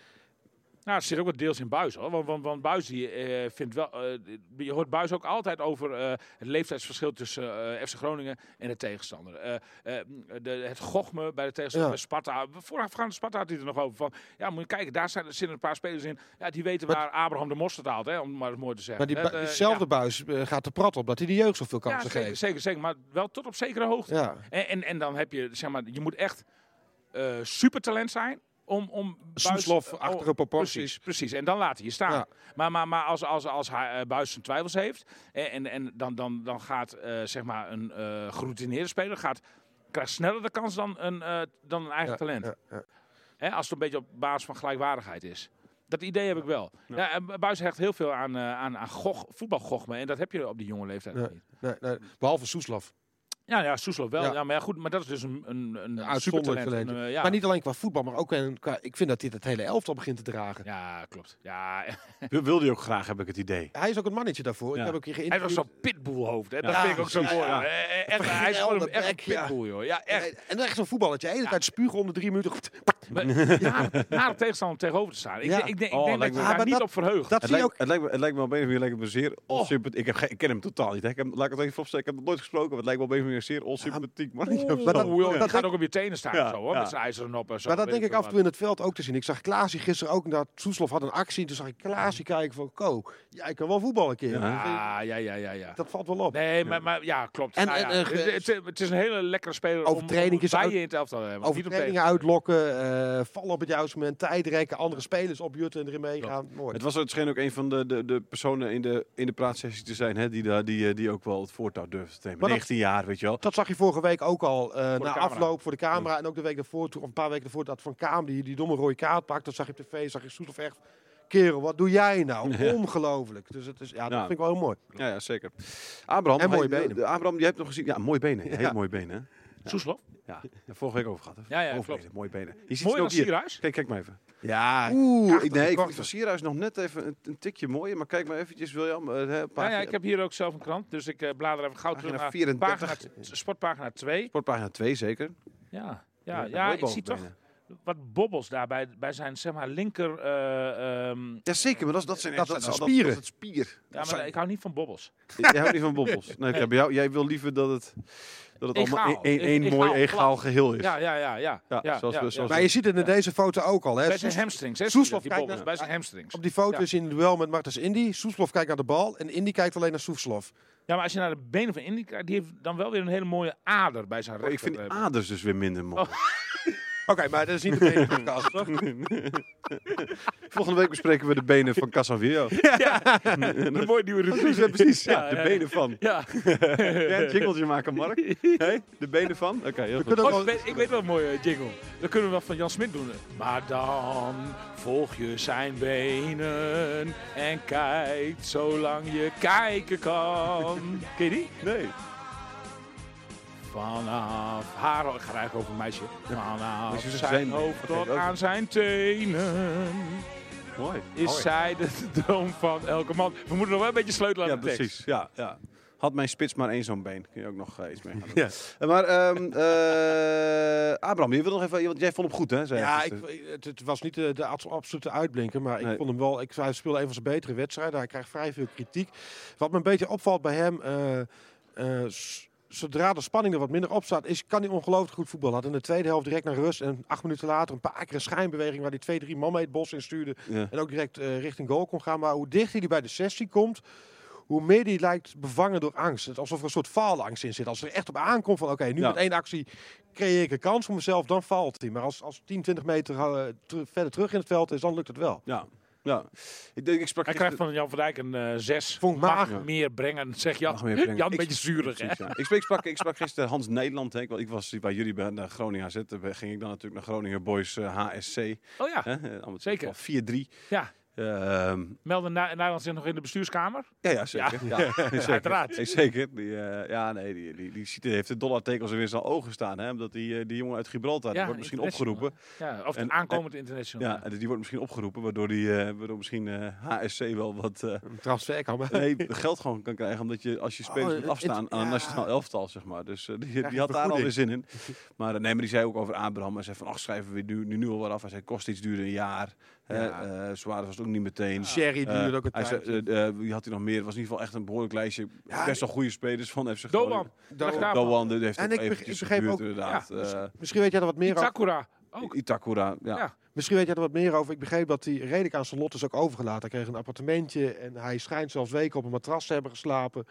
nou, het zit ook wat deels in Buis, hoor. Want, want, want Buis die, eh, vindt wel... eh, je hoort Buis ook altijd over eh, het leeftijdsverschil tussen eh, FC Groningen en de tegenstander. Eh, eh, de, het gochme bij de tegenstander
Ja.
bij Sparta. Voorafgaande Sparta had hij het er nog over. Van, ja, moet je kijken, daar zijn, zitten een paar spelers in. Ja, die weten
Maar-
waar Abraham de mosterd haalt, hè, om het maar eens mooi te zeggen.
Maar die,
Eh,
bu-
eh,
diezelfde
ja.
buis eh, gaat de prat op dat hij de jeugd zoveel
Ja,
kansen
zeker,
geeft.
zeker, zeker. Maar wel tot op zekere hoogte.
Ja.
En, en, en dan heb je, zeg maar, je moet echt eh supertalent zijn om... om Buijs-
Soeslof-achtige
oh,
proporties.
Precies, precies. En dan laat hij je staan.
Ja.
Maar, maar, maar als, als, als hij eh, Buijs zijn twijfels heeft eh, en, en, en dan, dan, dan gaat eh, zeg maar een eh geroutineerde speler gaat, krijgt sneller de kans dan een, eh, dan een eigen
Ja,
talent.
ja, ja.
Hè, als het een beetje op basis van gelijkwaardigheid is. Dat idee heb ik wel. Ja. en Buijs hecht heel veel aan, eh, aan, aan gog, voetbalgochme. En dat heb je op die jonge leeftijd nog
Ja.
niet.
Nee, nee, Mm. behalve Soeslof.
Nou Ja, ja, Soeslof wel.
Ja.
Ja. maar ja, goed, maar dat is dus een, een, een
uitzonderlijk
supertalent.
talent.
Een, eh, ja.
Maar niet alleen qua voetbal, maar ook in- qua... Ik vind dat dit het hele elftal begint te dragen.
Ja, klopt. Ja,
Wil- Wilde hij ook graag, heb ik het idee.
Hij is ook het mannetje daarvoor.
Ja.
Ik heb ook hier
hij was
geïnterviewd.
zo'n pitboelhoofd. Hè? Dat
Ja,
vind ik ook zo mooi.
precies,
hoor. Eh, eh, echt, hij is gewoon een, echt een
Bek, ja.
pitboel, joh. Ja, echt.
En- En echt zo'n voetballetje. De hele tijd spugen om de drie minuten.
Maar, ja, naar de tegenstander om tegenover te staan. Ik,
Ja.
denk- ik denk, ik
Oh,
denk dat
lijkt
je
me-
daar
Ah, maar
niet
dat-
op verheugt.
Dat
Het
zie je
lijkt,
ook.
het, lijkt me, het lijkt me op een of andere manier lijkt het me zeer.
Oh.
onsympath- Ik, heb, geen- ik ken hem totaal niet. Hè. Ik heb, laat ik het even vooropstellen. Ik heb hem nooit gesproken. Maar het lijkt me op een of andere Groningen zeer onsympathiek mannetje. of
maar
zo.
dat-
Oei, oei,
dat
Oh, die gaat
denk-
ook op je tenen staan
Ja,
of zo, hoor,
ja.
met zijn ijzeren noppen. en Zo,
Maar dat
weet
denk ik
veel
af en toe in het veld ook te zien. Ik zag Klaasie gisteren ook, dat Soeslof had een actie. Toen zag ik Klaasie kijken van, Ko, jij kan wel voetballen een keer.
wat. Ah, Ja, ja, ja, ja. ja.
Dat valt wel op.
Nee, maar, maar ja, klopt.
En-
Nou
en,
ja,
eh, ge-
het, het- het is een hele lekkere speler om, om bij
Overtreding is uit-
je in het elftal te hebben. want niet op
Overtredingen
tegen.
uitlokken, eh, vallen op het juiste moment, tijdrekken, andere spelers opjutten en erin meegaan. Mooi.
Het was het scheen ook een van de, de, de personen in de, in de praatsessie te zijn hè, die, daar- die, eh, die ook wel het voortouw durfde te nemen.
Maar dat-
19 jaar, weet je wel.
Dat zag je vorige week ook al. eh, na
camera.
afloop voor de camera. En ook de week daarvoor, toen- of een paar weken daarvoor, dat Van Kaam die, die domme rode kaart pakt. Dat zag je op tv, zag je Soethoff echt... Kerel, wat doe jij nou? Ongelooflijk. Dus het is, ja, dat
Ja.
vind ik wel heel mooi.
Ja, ja, zeker. Abraham,
En mooie
hij-
benen.
de- Abraham, jij hebt nog gezien. Ja, mooie benen. Hele
Ja.
mooie benen. hè.
Soeslof.
Ja, daar vorige week over gehad. Hè.
Ja, ja,
Mooie
klopt.
benen, Mooie benen. Je ziet
Mooi
ze
dan
ook hier.
Sierhuis.
Kijk, kijk maar even.
Ja,
Oeh, ik,
Prachtig,
nee, ik vond
prachtig.
van Sierhuis nog net even een, een tikje mooier. Maar kijk maar eventjes, William. eh, hè, een
Nou Ja,
paar-
ja, ik heb hier ook zelf een krant, dus ik eh, blader even gauw terug
Pagina
naar
34.
pagina, sportpagina 2.
Sportpagina 2 zeker.
Ja, ja, ja,
een mooi
ik zie toch
bovenbenen.
wat bobbels daarbij bij zijn zeg maar, linker... eh, ehm,
Ja, zeker. Maar dat, dat zijn
Dat
echt-
zijn
Dat,
spieren.
dat is spier.
ja, maar ik hou niet van bobbels.
Jij houdt niet van bobbels. Nee, ik heb jou, jij wil liever dat het, dat het allemaal
Egaal.
één- één
E-
één mooi
egaal,
egaal
glad.
geheel is.
Ja, ja, ja. ja,
dus. Ja,
ja,
zoals
ja,
we-
ja.
zoals
Maar je ziet het in deze foto ook al. Hè.
Bij zijn
Soes-
hamstrings, hè?
Soeslof
die
kijkt
bobbels,
naar-
bij zijn hamstrings.
Op die foto
Ja.
is hij in het duel met Martens Indy. Soeslof kijkt naar de bal en Indy kijkt alleen naar Soeslof.
Ja, maar als je naar de benen van Indy kijkt, die heeft dan wel weer een hele mooie ader bij zijn
Oh,
rechter.
ik vind die
eh,
aders dus weer minder mooi.
Oh.
Oké, maar dat is niet de enige podcast. toch?
Volgende week bespreken we de benen van Casaviero.
Een mooie nieuwe rubriek.
Oh, Precies, precies. Ja,
Ja,
de
ja, ja.
benen van.
Ja.
Ja, een jingletje maken, Mark. Hé, de benen van. Oké, heel goed.
kunnen ook
Oh,
wel-
ik, weet, ik weet wel een mooie jingle. Dan kunnen we wel van Jan Smit doen. Maar dan volg je zijn benen en kijkt zolang je kijken kan. Ken je die?
Nee.
Vanaf haar... Ik ga eigenlijk over een meisje. Vanaf
Moet je zeggen,
zijn
zijn-
hoofd
Oké,
tot
oké.
aan zijn tenen.
Mooi.
Is zij de droom van elke man. We moeten nog wel een beetje sleutelen
Ja,
aan de tekst.
precies. Ja, ja. Had mijn spits maar één zo'n been. Kun je ook nog eh, iets mee gaan doen. Eh, Maar, ehm eh, Abraham, je wil nog even, want jij vond hem goed, hè? zei je
Ja, ik,
gisteren.
het, het was niet de, de abs- absolute uitblinker, maar
Nee.
ik vond hem wel. Ik, hij speelde een van zijn betere wedstrijden. Hij krijgt vrij veel kritiek. Wat me een beetje opvalt bij hem. eh, eh, s- Zodra de spanning er wat minder op staat, is, kan hij ongelooflijk goed voetballen. Had in de tweede helft direct naar rust en acht minuten later een paar keer een schijnbeweging waar hij twee, drie man mee het bos in stuurde.
Ja.
En ook direct eh, richting goal kon gaan. Maar hoe dichter hij bij de 16 komt, hoe meer die lijkt bevangen door angst. Het is alsof er een soort faalangst in zit. Als er echt op aankomt van oké, nu
Ja.
met één actie creëer ik een kans voor mezelf, dan valt hij. Maar als, als 10, 20 meter eh, ter- verder terug in het veld is, dan lukt het wel.
ja. ja. Ik, denk, ik sprak
Hij krijgt van Jan van Dijk een eh, zes.
Vond ik mager.
Mag meer brengen, zeg Jan.
Mag meer brengen.
Jan, een
Ik-
beetje zuurig, hè?
Precies, ja. ik, sprak, ik, sprak, ik sprak gisteren Hans Nederland. Hè. Ik, wel- ik was bij jullie bij naar Groningen AZ. Daar ben- ging ik dan natuurlijk naar Groningen Boys eh, HSC.
Oh ja,
Hè? eh, amateur
Zeker.
voetbal, 4-3.
ja.
Ehm,
Melden Na- Nederland zich nog in de bestuurskamer.
ja, ja, zeker. Ja. zeker.
Uiteraard.
Nee, zeker. Die, eh, ja, nee, die, die, die ziet, heeft de dollartekens er weer zijn ogen staan. Hè? Omdat die, eh, die jongen uit Gibraltar, die
Ja,
wordt misschien
international.
opgeroepen.
Ja, of
En-
het aankomend international.
Ja, en die wordt misschien opgeroepen, waardoor, die, eh, waardoor misschien eh, HSC wel wat eh,
Een transfer kan maar.
nee, geld gewoon kan krijgen. Omdat je als je spelers
Oh,
moet
het-
afstaan
het-
aan een
ja.
nationaal elftal, zeg maar. Dus eh, die,
je
die had daar alweer
vergoeding.
zin in. Maar, eh, nee, maar die zei ook over Abraham. Hij zei van, ach, schrijven we nu, nu, nu al wat af. Hij zei, kost iets duurder een jaar.
Ja.
Hè, eh zwaar was het ook niet meteen.
Sherry
Eh,
duurde ook een
hij zei,
tijdje.
eh, eh, Wie had hij nog meer? Het was in ieder geval echt een behoorlijk lijstje. Best wel goede spelers van FC
Doan.
Groningen.
Dag
Doan.
daar, man.
Doan, die heeft
En
ook
ik beg-
eventjes
ik begreep
geduurd,
ook-
inderdaad. Eh,
Misschien weet jij er wat meer over.
Itakura ook.
Itakura, ja.
Ja.
Misschien weet jij er wat meer over. Ik begreep dat hij redelijk aan zijn lot is ook overgelaten. Hij kreeg een appartementje en hij schijnt zelfs weken op een matras te hebben geslapen.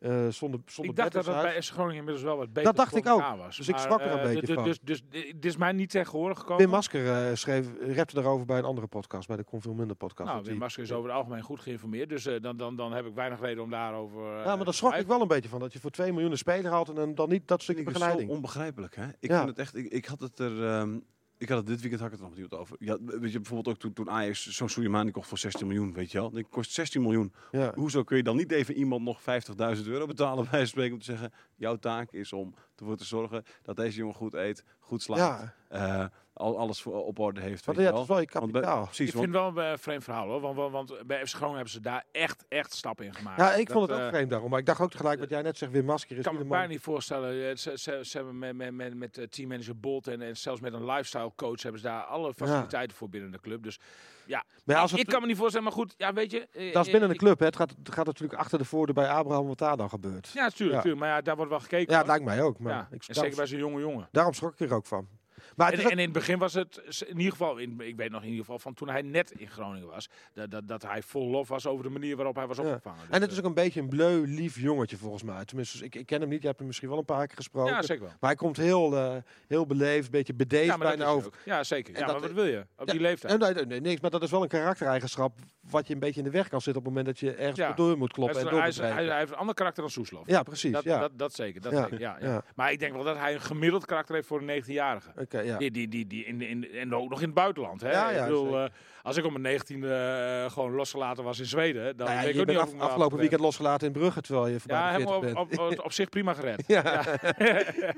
eh, zonder, zonder
Ik
bed
dacht dat
en
het
zo.
bij S. Groningen inmiddels wel wat beter
Dat dacht ik
voor elkaar
ook.
was.
Dus ik
Maar,
schrok er een
eh,
beetje
dus-
van.
Dus, dus, dit is mij niet tegen horen gekomen.
Wim Masker eh, schreef, repte daarover bij een andere podcast, bij de Kon Veel Minder podcast.
Nou,
Dat
Wim
hij-
Masker is over het algemeen goed geïnformeerd. Dus eh, dan, dan, dan heb ik weinig reden om daarover... eh,
ja, maar daar
te
schrok ik
twijfelen.
wel een beetje van. Dat je voor 2 miljoen een speler haalt en dan- dan niet dat stukje
Ik vind het
begeleiding.
Zo onbegrijpelijk, hè? Ik
Ja.
vind het echt. Ik, ik had het er. ehm, ik had het dit weekend had ik het er nog niet over. Ja, weet je, bijvoorbeeld ook toen, toen Ajax zo'n Soleimani kocht voor 16 miljoen, weet je wel? Die kost 16 miljoen.
Ja.
Hoezo kun je dan niet even iemand nog 50.000 euro betalen bij wijze van spreken om te zeggen: jouw taak is om ervoor te zorgen dat deze jongen goed eet, goed slaapt,
Ja,
eh, al alles voor, op orde heeft.
want
weet
ja,
je
dat is
wel?
wel je
Want bij-
kapitaal.
precies,
Ik
want
vind het wel een eh, vreemd verhaal hoor. Want, want, want bij FC Groningen hebben ze daar echt, echt stappen in gemaakt.
Ja, ik vond
Dat,
het ook
eh,
vreemd daarom. Maar ik dacht ook tegelijk wat jij net zegt, Wim Masker is
Ik kan
niet
me
de
bijna
man.
niet voorstellen. Eh, Ze, ze, ze hebben met, met, met, met eh, teammanager Bolt en, en zelfs met een lifestyle coach hebben ze daar alle faciliteiten voor binnen de club. Dus Ja.
Maar als
ik
het,
kan me niet voorstellen, maar goed, ja, weet je. eh,
dat is binnen
eh,
de club. Hè. Het gaat, het gaat natuurlijk achter de voordeur bij Abraham wat daar dan gebeurt.
ik- Ja, tuurlijk,
Ja.
tuurlijk. Maar ja, daar wordt wel
Ja,
gekeken. hoor.
het lijkt mij ook. Maar
ja.
ik,
en
daarom,
zeker bij zo'n jonge jongen.
daarom schrok ik er ook van. Maar het
En,
is
en in het begin was het, s- in ieder geval, in, ik weet nog in ieder geval van toen hij net in Groningen was, dat, dat, dat hij vol lof was over de manier waarop hij was
Ja.
opgevangen. Dus,
En het is
eh,
ook een beetje een bleu, lief jongetje volgens mij. Tenminste, ik, ik ken hem niet. Jij hebt hem misschien wel een paar keer gesproken.
ja, zeker wel.
maar hij komt heel, eh, heel beleefd, een beetje bedeesd
Ja, maar dat
bijna
is hij
over.
ook. Ja, zeker.
En
Ja,
dat-
maar wat wil je op
Ja,
die leeftijd?
En, nee, nee, nee, niks, maar dat is wel een karaktereigenschap wat je een beetje in de weg kan zitten op het moment dat je ergens
Ja.
door moet
Hij,
kloppen
is-
en
hij, is-
doorbedrijven.
hij- hij heeft een ander karakter dan Soeslof.
Ja, precies.
dat,
ja.
Dat, dat zeker. Dat
Ja,
zeker ja, ja.
ja.
Maar ik denk wel dat hij een gemiddeld karakter heeft voor een 19-jarige.
Oké, ja.
Die, die, die, die in, de- in, de- en ook nog in het buitenland. Hè?
Ja, ja,
ik bedoel, eh, als ik op mijn 19 eh gewoon losgelaten was in Zweden, dan
Nou ja,
weet ik
je
ook niet
bent
of ik
af-
me
afgelopen
later ben.
weekend losgelaten in Brugge, terwijl je voorbij
Ja,
de 40
helemaal
bent.
op, op, op, op zich prima gered.
Ja.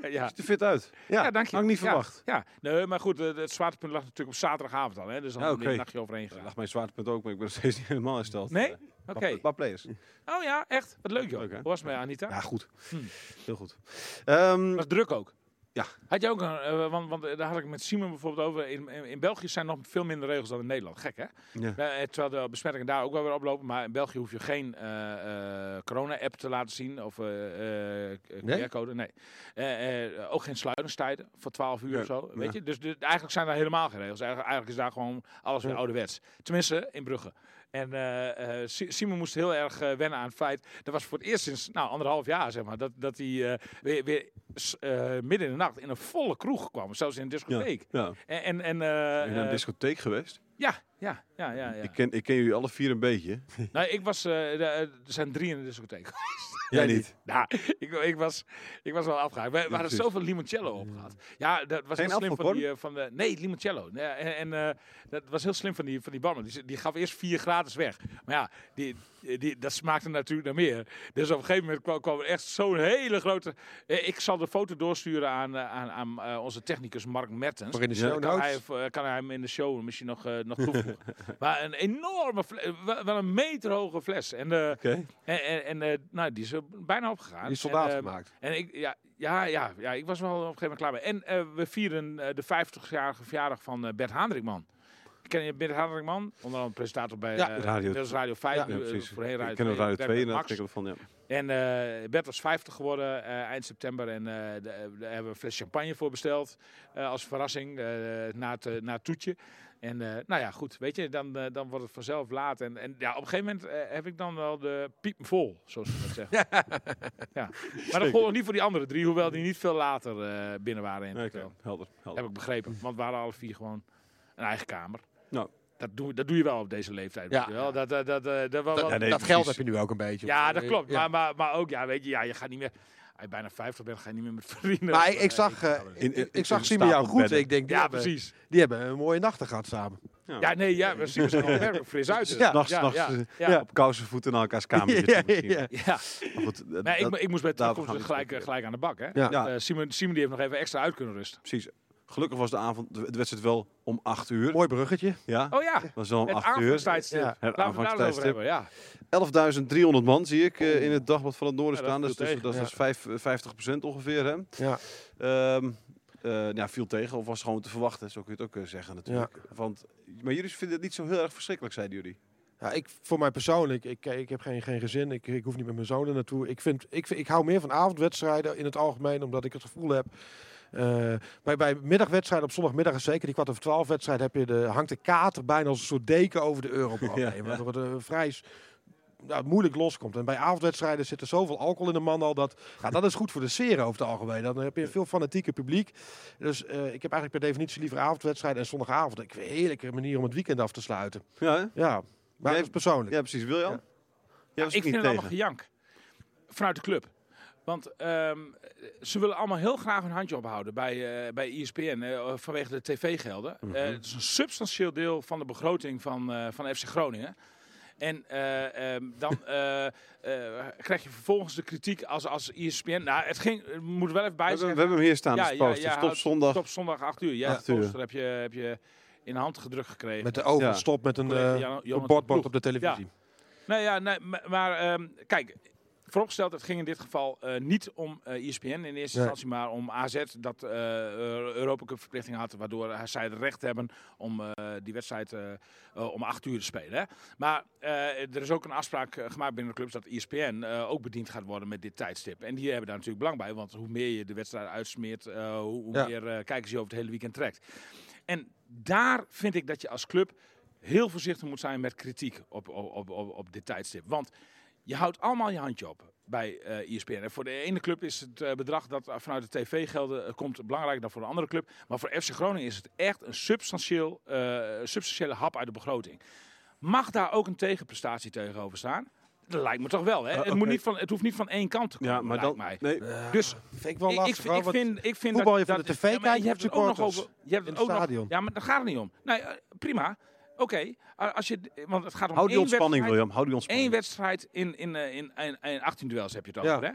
ja.
Ziet er fit uit.
Ja, dank je.
Had ik niet
Ja,
verwacht.
Ja, nee, maar goed, eh, het zwaartepunt lag natuurlijk op zaterdagavond al. Hè, dus dan
Ja,
ben ik
oké.
een nachtje overheen
Dat
gegaan.
lag mijn zwaartepunt ook, maar ik ben nog steeds niet helemaal hersteld.
Nee?
Eh,
Oké.
maar- Maar players.
Oh ja, echt? Wat leuk joh.
Leuk, hè?
Hoe was het met Anita?
Ja, goed.
Hm.
Heel goed. Ehm,
Was druk ook.
Ja.
Had je ook een, eh, want, want eh, daar had ik met Simon bijvoorbeeld over. In, in, in België zijn nog veel minder regels dan in Nederland. Gek hè?
ja.
Eh, eh, terwijl de besmettingen daar ook wel weer oplopen. Maar in België hoef je geen eh, eh, corona-app te laten zien. Of eh, eh, k-
Nee?
QR-code. Nee. Eh, eh, ook geen sluitingstijden voor 12 uur
Ja,
of zo. Weet
ja.
je? Dus de- eigenlijk zijn daar helemaal geen regels. Eigenlijk, eigenlijk is daar gewoon alles weer ouderwets. Tenminste, in Brugge. En eh, eh, Si- Simon moest heel erg eh, wennen aan het feit. Dat was voor het eerst sinds nou, anderhalf jaar, zeg maar. Dat, dat hij eh, weer, weer s- eh, midden in de nacht in een volle kroeg kwam. Zelfs in een discotheek.
Ja. Ik
En, en, en,
ben
eh,
naar een
eh,
discotheek geweest.
ja, ja, ja, ja, ja.
Ik, ken, ik ken jullie alle vier een beetje.
Nou, ik was. eh, de- eh, er zijn drie in de discotheek.
Jij niet.
nou, ik, ik, was, ik was wel afgehaakt. We, we hadden
precies.
zoveel limoncello opgehaald. Ja, dat was
Geen
heel slim van
appelkorn?
die. eh, van de, nee, limoncello. Nee, en en eh, dat was heel slim van die, van die barman. Die, ze- die gaf eerst vier gratis weg. Maar ja, die, die, dat smaakte natuurlijk naar meer. Dus op een gegeven moment kwam, kwam er echt zo'n hele grote. Eh, ik zal de foto doorsturen aan, eh, aan, aan eh, onze technicus Mark Mertens.
Voor in de
Ja,
show
Kan
notes.
hij, eh, kan hij hem in de show misschien nog, eh, nog toevoegen. maar een enorme fles, wel wel een meterhoge fles. En, eh,
Oké.
en, en, en, eh, nou, die is er bijna opgegaan.
Die is soldaat
en, eh,
gemaakt.
En ik, ja, ja, ja, ja, ik was wel op een gegeven moment klaar mee. En eh, we vieren eh, de 50-jarige verjaardag van eh, Bert Haandrikman. Ken je Bert Haandrikman? Onder andere presentator bij
Ja,
eh,
Radio-
inmiddels Radio 5.
Ja,
nu, eh,
precies.
voorheen Radio
Ik ken ook
2,
Radio
Bert
2 en
met
daar
Max.
heb ik van. Ja.
En eh, Bert was 50 geworden eh, eind september. En eh, de- daar hebben we een fles champagne voor besteld. eh, als verrassing eh, na, het, eh, na het toetje. En eh, nou ja, goed. Weet je, dan, eh, dan wordt het vanzelf laat. En, en ja, op een gegeven moment eh, heb ik dan wel de piep vol. Zoals ze dat zeggen. ja. Maar dat gold ook niet voor die andere drie. Hoewel die niet veel later eh, binnen waren. In het
Nee,
hotel.
oké. Helder. helder.
Heb ik begrepen. Want we hadden alle vier gewoon een eigen kamer.
Nou.
Dat doe, dat doe je wel op deze leeftijd.
Ja.
weet je wel. Dat, dat, dat, eh, dat,
Dat,
wel- wel-
nee,
dat
precies.
geld heb je nu ook een beetje.
ja, dat klopt.
Ja.
Maar, maar, maar ook, ja, weet je, ja, je gaat niet meer. Als je bijna 50 bent, ga je niet meer met vrienden.
Maar
of,
ik, ik
eh,
zag, eh,
In- in-
ik zag
in
Simon jou goed.
stapelbedden.
Ik denk, die,
ja,
hebben,
precies.
die hebben een mooie nachten gehad samen.
Ja, nee, ja, we zien er gewoon werkelijk fris uit.
Ja.
Nachts,
ja,
nachts
ja,
eh,
ja.
op kousenvoeten voeten naar elkaars kamer zitten misschien.
ja.
Ja,
Maar goed, eh,
maar ik,
dat-
mo- ik moest bij
daarover
terugkomst
gaan we
dus
het
gelijk,
niet
eh, gelijk aan de bak, hè?
Ja.
Ja.
Eh, Simon, Simon die heeft nog even extra uit kunnen rusten.
precies. Gelukkig was de avond, de de wedstrijd wel om 8 uur.
Mooi bruggetje.
Ja,
Oh ja,
was wel om
het
8 uur.
aanvangstijdstip.
Ja.
Laten we het daar eens over
aanvangstijdstip.
hebben, ja.
11.300 man zie ik eh, in het dagblad van het Noorden
Ja, dat
staan. Dus
viel
dat is, dat is
tegen.
dus vijf- eh, 50% ongeveer. Hè?
Ja.
Ehm, eh, ja, viel tegen of was gewoon te verwachten, zo kun je het ook eh, zeggen natuurlijk. Want, maar jullie vinden het niet zo heel erg verschrikkelijk, zeiden jullie.
Ja, ik, voor mij persoonlijk, ik, ik heb geen, geen gezin. Ik, ik hoef niet met mijn zoon er naartoe. Ik, vind, ik, vind- ik hou meer van avondwedstrijden in het algemeen, omdat ik het gevoel heb. eh, bij, bij middagwedstrijden op zondagmiddag, en zeker die kwart over twaalf wedstrijd, heb je de, hangt de kater bijna als een soort deken over de Europa.
Ja,
ja, Waardoor het eh, vrij s- nou, moeilijk loskomt. En bij avondwedstrijden zit er zoveel alcohol in de man al. Dat, ja, dat is goed voor de sfeer over het algemeen. Dan heb je een veel fanatieke publiek. Dus eh, ik heb eigenlijk per definitie liever avondwedstrijden en zondagavond. Ik vind een heerlijke manier om het weekend af te sluiten.
Ja, hè?
Ja, maar
Jij-
dat is persoonlijk.
ja precies. Wiljan?
Ja.
Jij was ook
ik vind
niet
het allemaal
tegen.
gejank. Vanuit de club. Want ehm, ze willen allemaal heel graag een handje ophouden bij, eh bij ESPN eh, vanwege de tv-gelden.
Mhm.
Eh, het is een substantieel deel van de begroting van, eh, van FC Groningen. En eh, ehm, dan eh, eh, krijg je vervolgens de kritiek als, als ESPN. Nou, het ging, er moet wel even
We
bij
hebben, we
zijn.
hebben hem hier staan, dus
Ja,
ja,
ja,
poster.
ja,
Stop
houdt-
zondag.
Top zondag 8 uur. Ja,
Acht
de
uur.
poster heb je, heb je in de hand gedrukt gekregen.
Met de oven
Ja.
stop met een
Collega
eh,
Jan-
een
Johan
bordbord
Ploeg.
op de televisie.
Nou ja, nee, ma- maar ehm, kijk, Vooropgesteld, het ging in dit geval eh, niet om eh ESPN in eerste instantie, maar om AZ dat eh Europa Cup verplichting had, waardoor hij- zij het recht hebben om eh, die wedstrijd eh, eh, om acht uur te spelen. Hè. Maar eh, er is ook een afspraak eh, gemaakt binnen de clubs dat ESPN eh, ook bediend gaat worden met dit tijdstip. En die hebben daar natuurlijk belang bij, want hoe meer je de wedstrijd uitsmeert, eh, hoe, hoe
Ja.
meer eh, kijkers je over het hele weekend trekt. En daar vind ik dat je als club heel voorzichtig moet zijn met kritiek op, op, op, op, op dit tijdstip. Want je houdt allemaal je handje op bij eh ESPN. En voor de ene club is het eh, bedrag dat vanuit de tv-gelden eh, komt belangrijker dan voor de andere club. Maar voor FC Groningen is het echt een substantieel, eh, substantiële hap uit de begroting. Mag daar ook een tegenprestatie tegenover staan? Dat lijkt me toch wel, hè?
Eh,
het, moet
oké.
niet van, het hoeft niet van één kant te komen,
Ja, maar dan...
lijkt mij.
Nee,
Dus
Vind ik wel
ik-
lastig.
ik,
hoor,
ik
want-
vind, ik vind
voetbal je
dat,
voor
dat,
de tv
ja, maar
kijkt,
je hebt
voor
het
de
ook nog
supporters
over. Je hebt
in
het
het
ook nog,
stadion.
ja, maar daar gaat het niet om. Nee, eh, prima. Oké, eh, als je, want het gaat om
hou die
één
ontspanning,
wedstrijd-
William. Hou die ontspanning.
Eén wedstrijd in, in, eh, in, in, in 18 duels heb je het
Ja.
over, hè?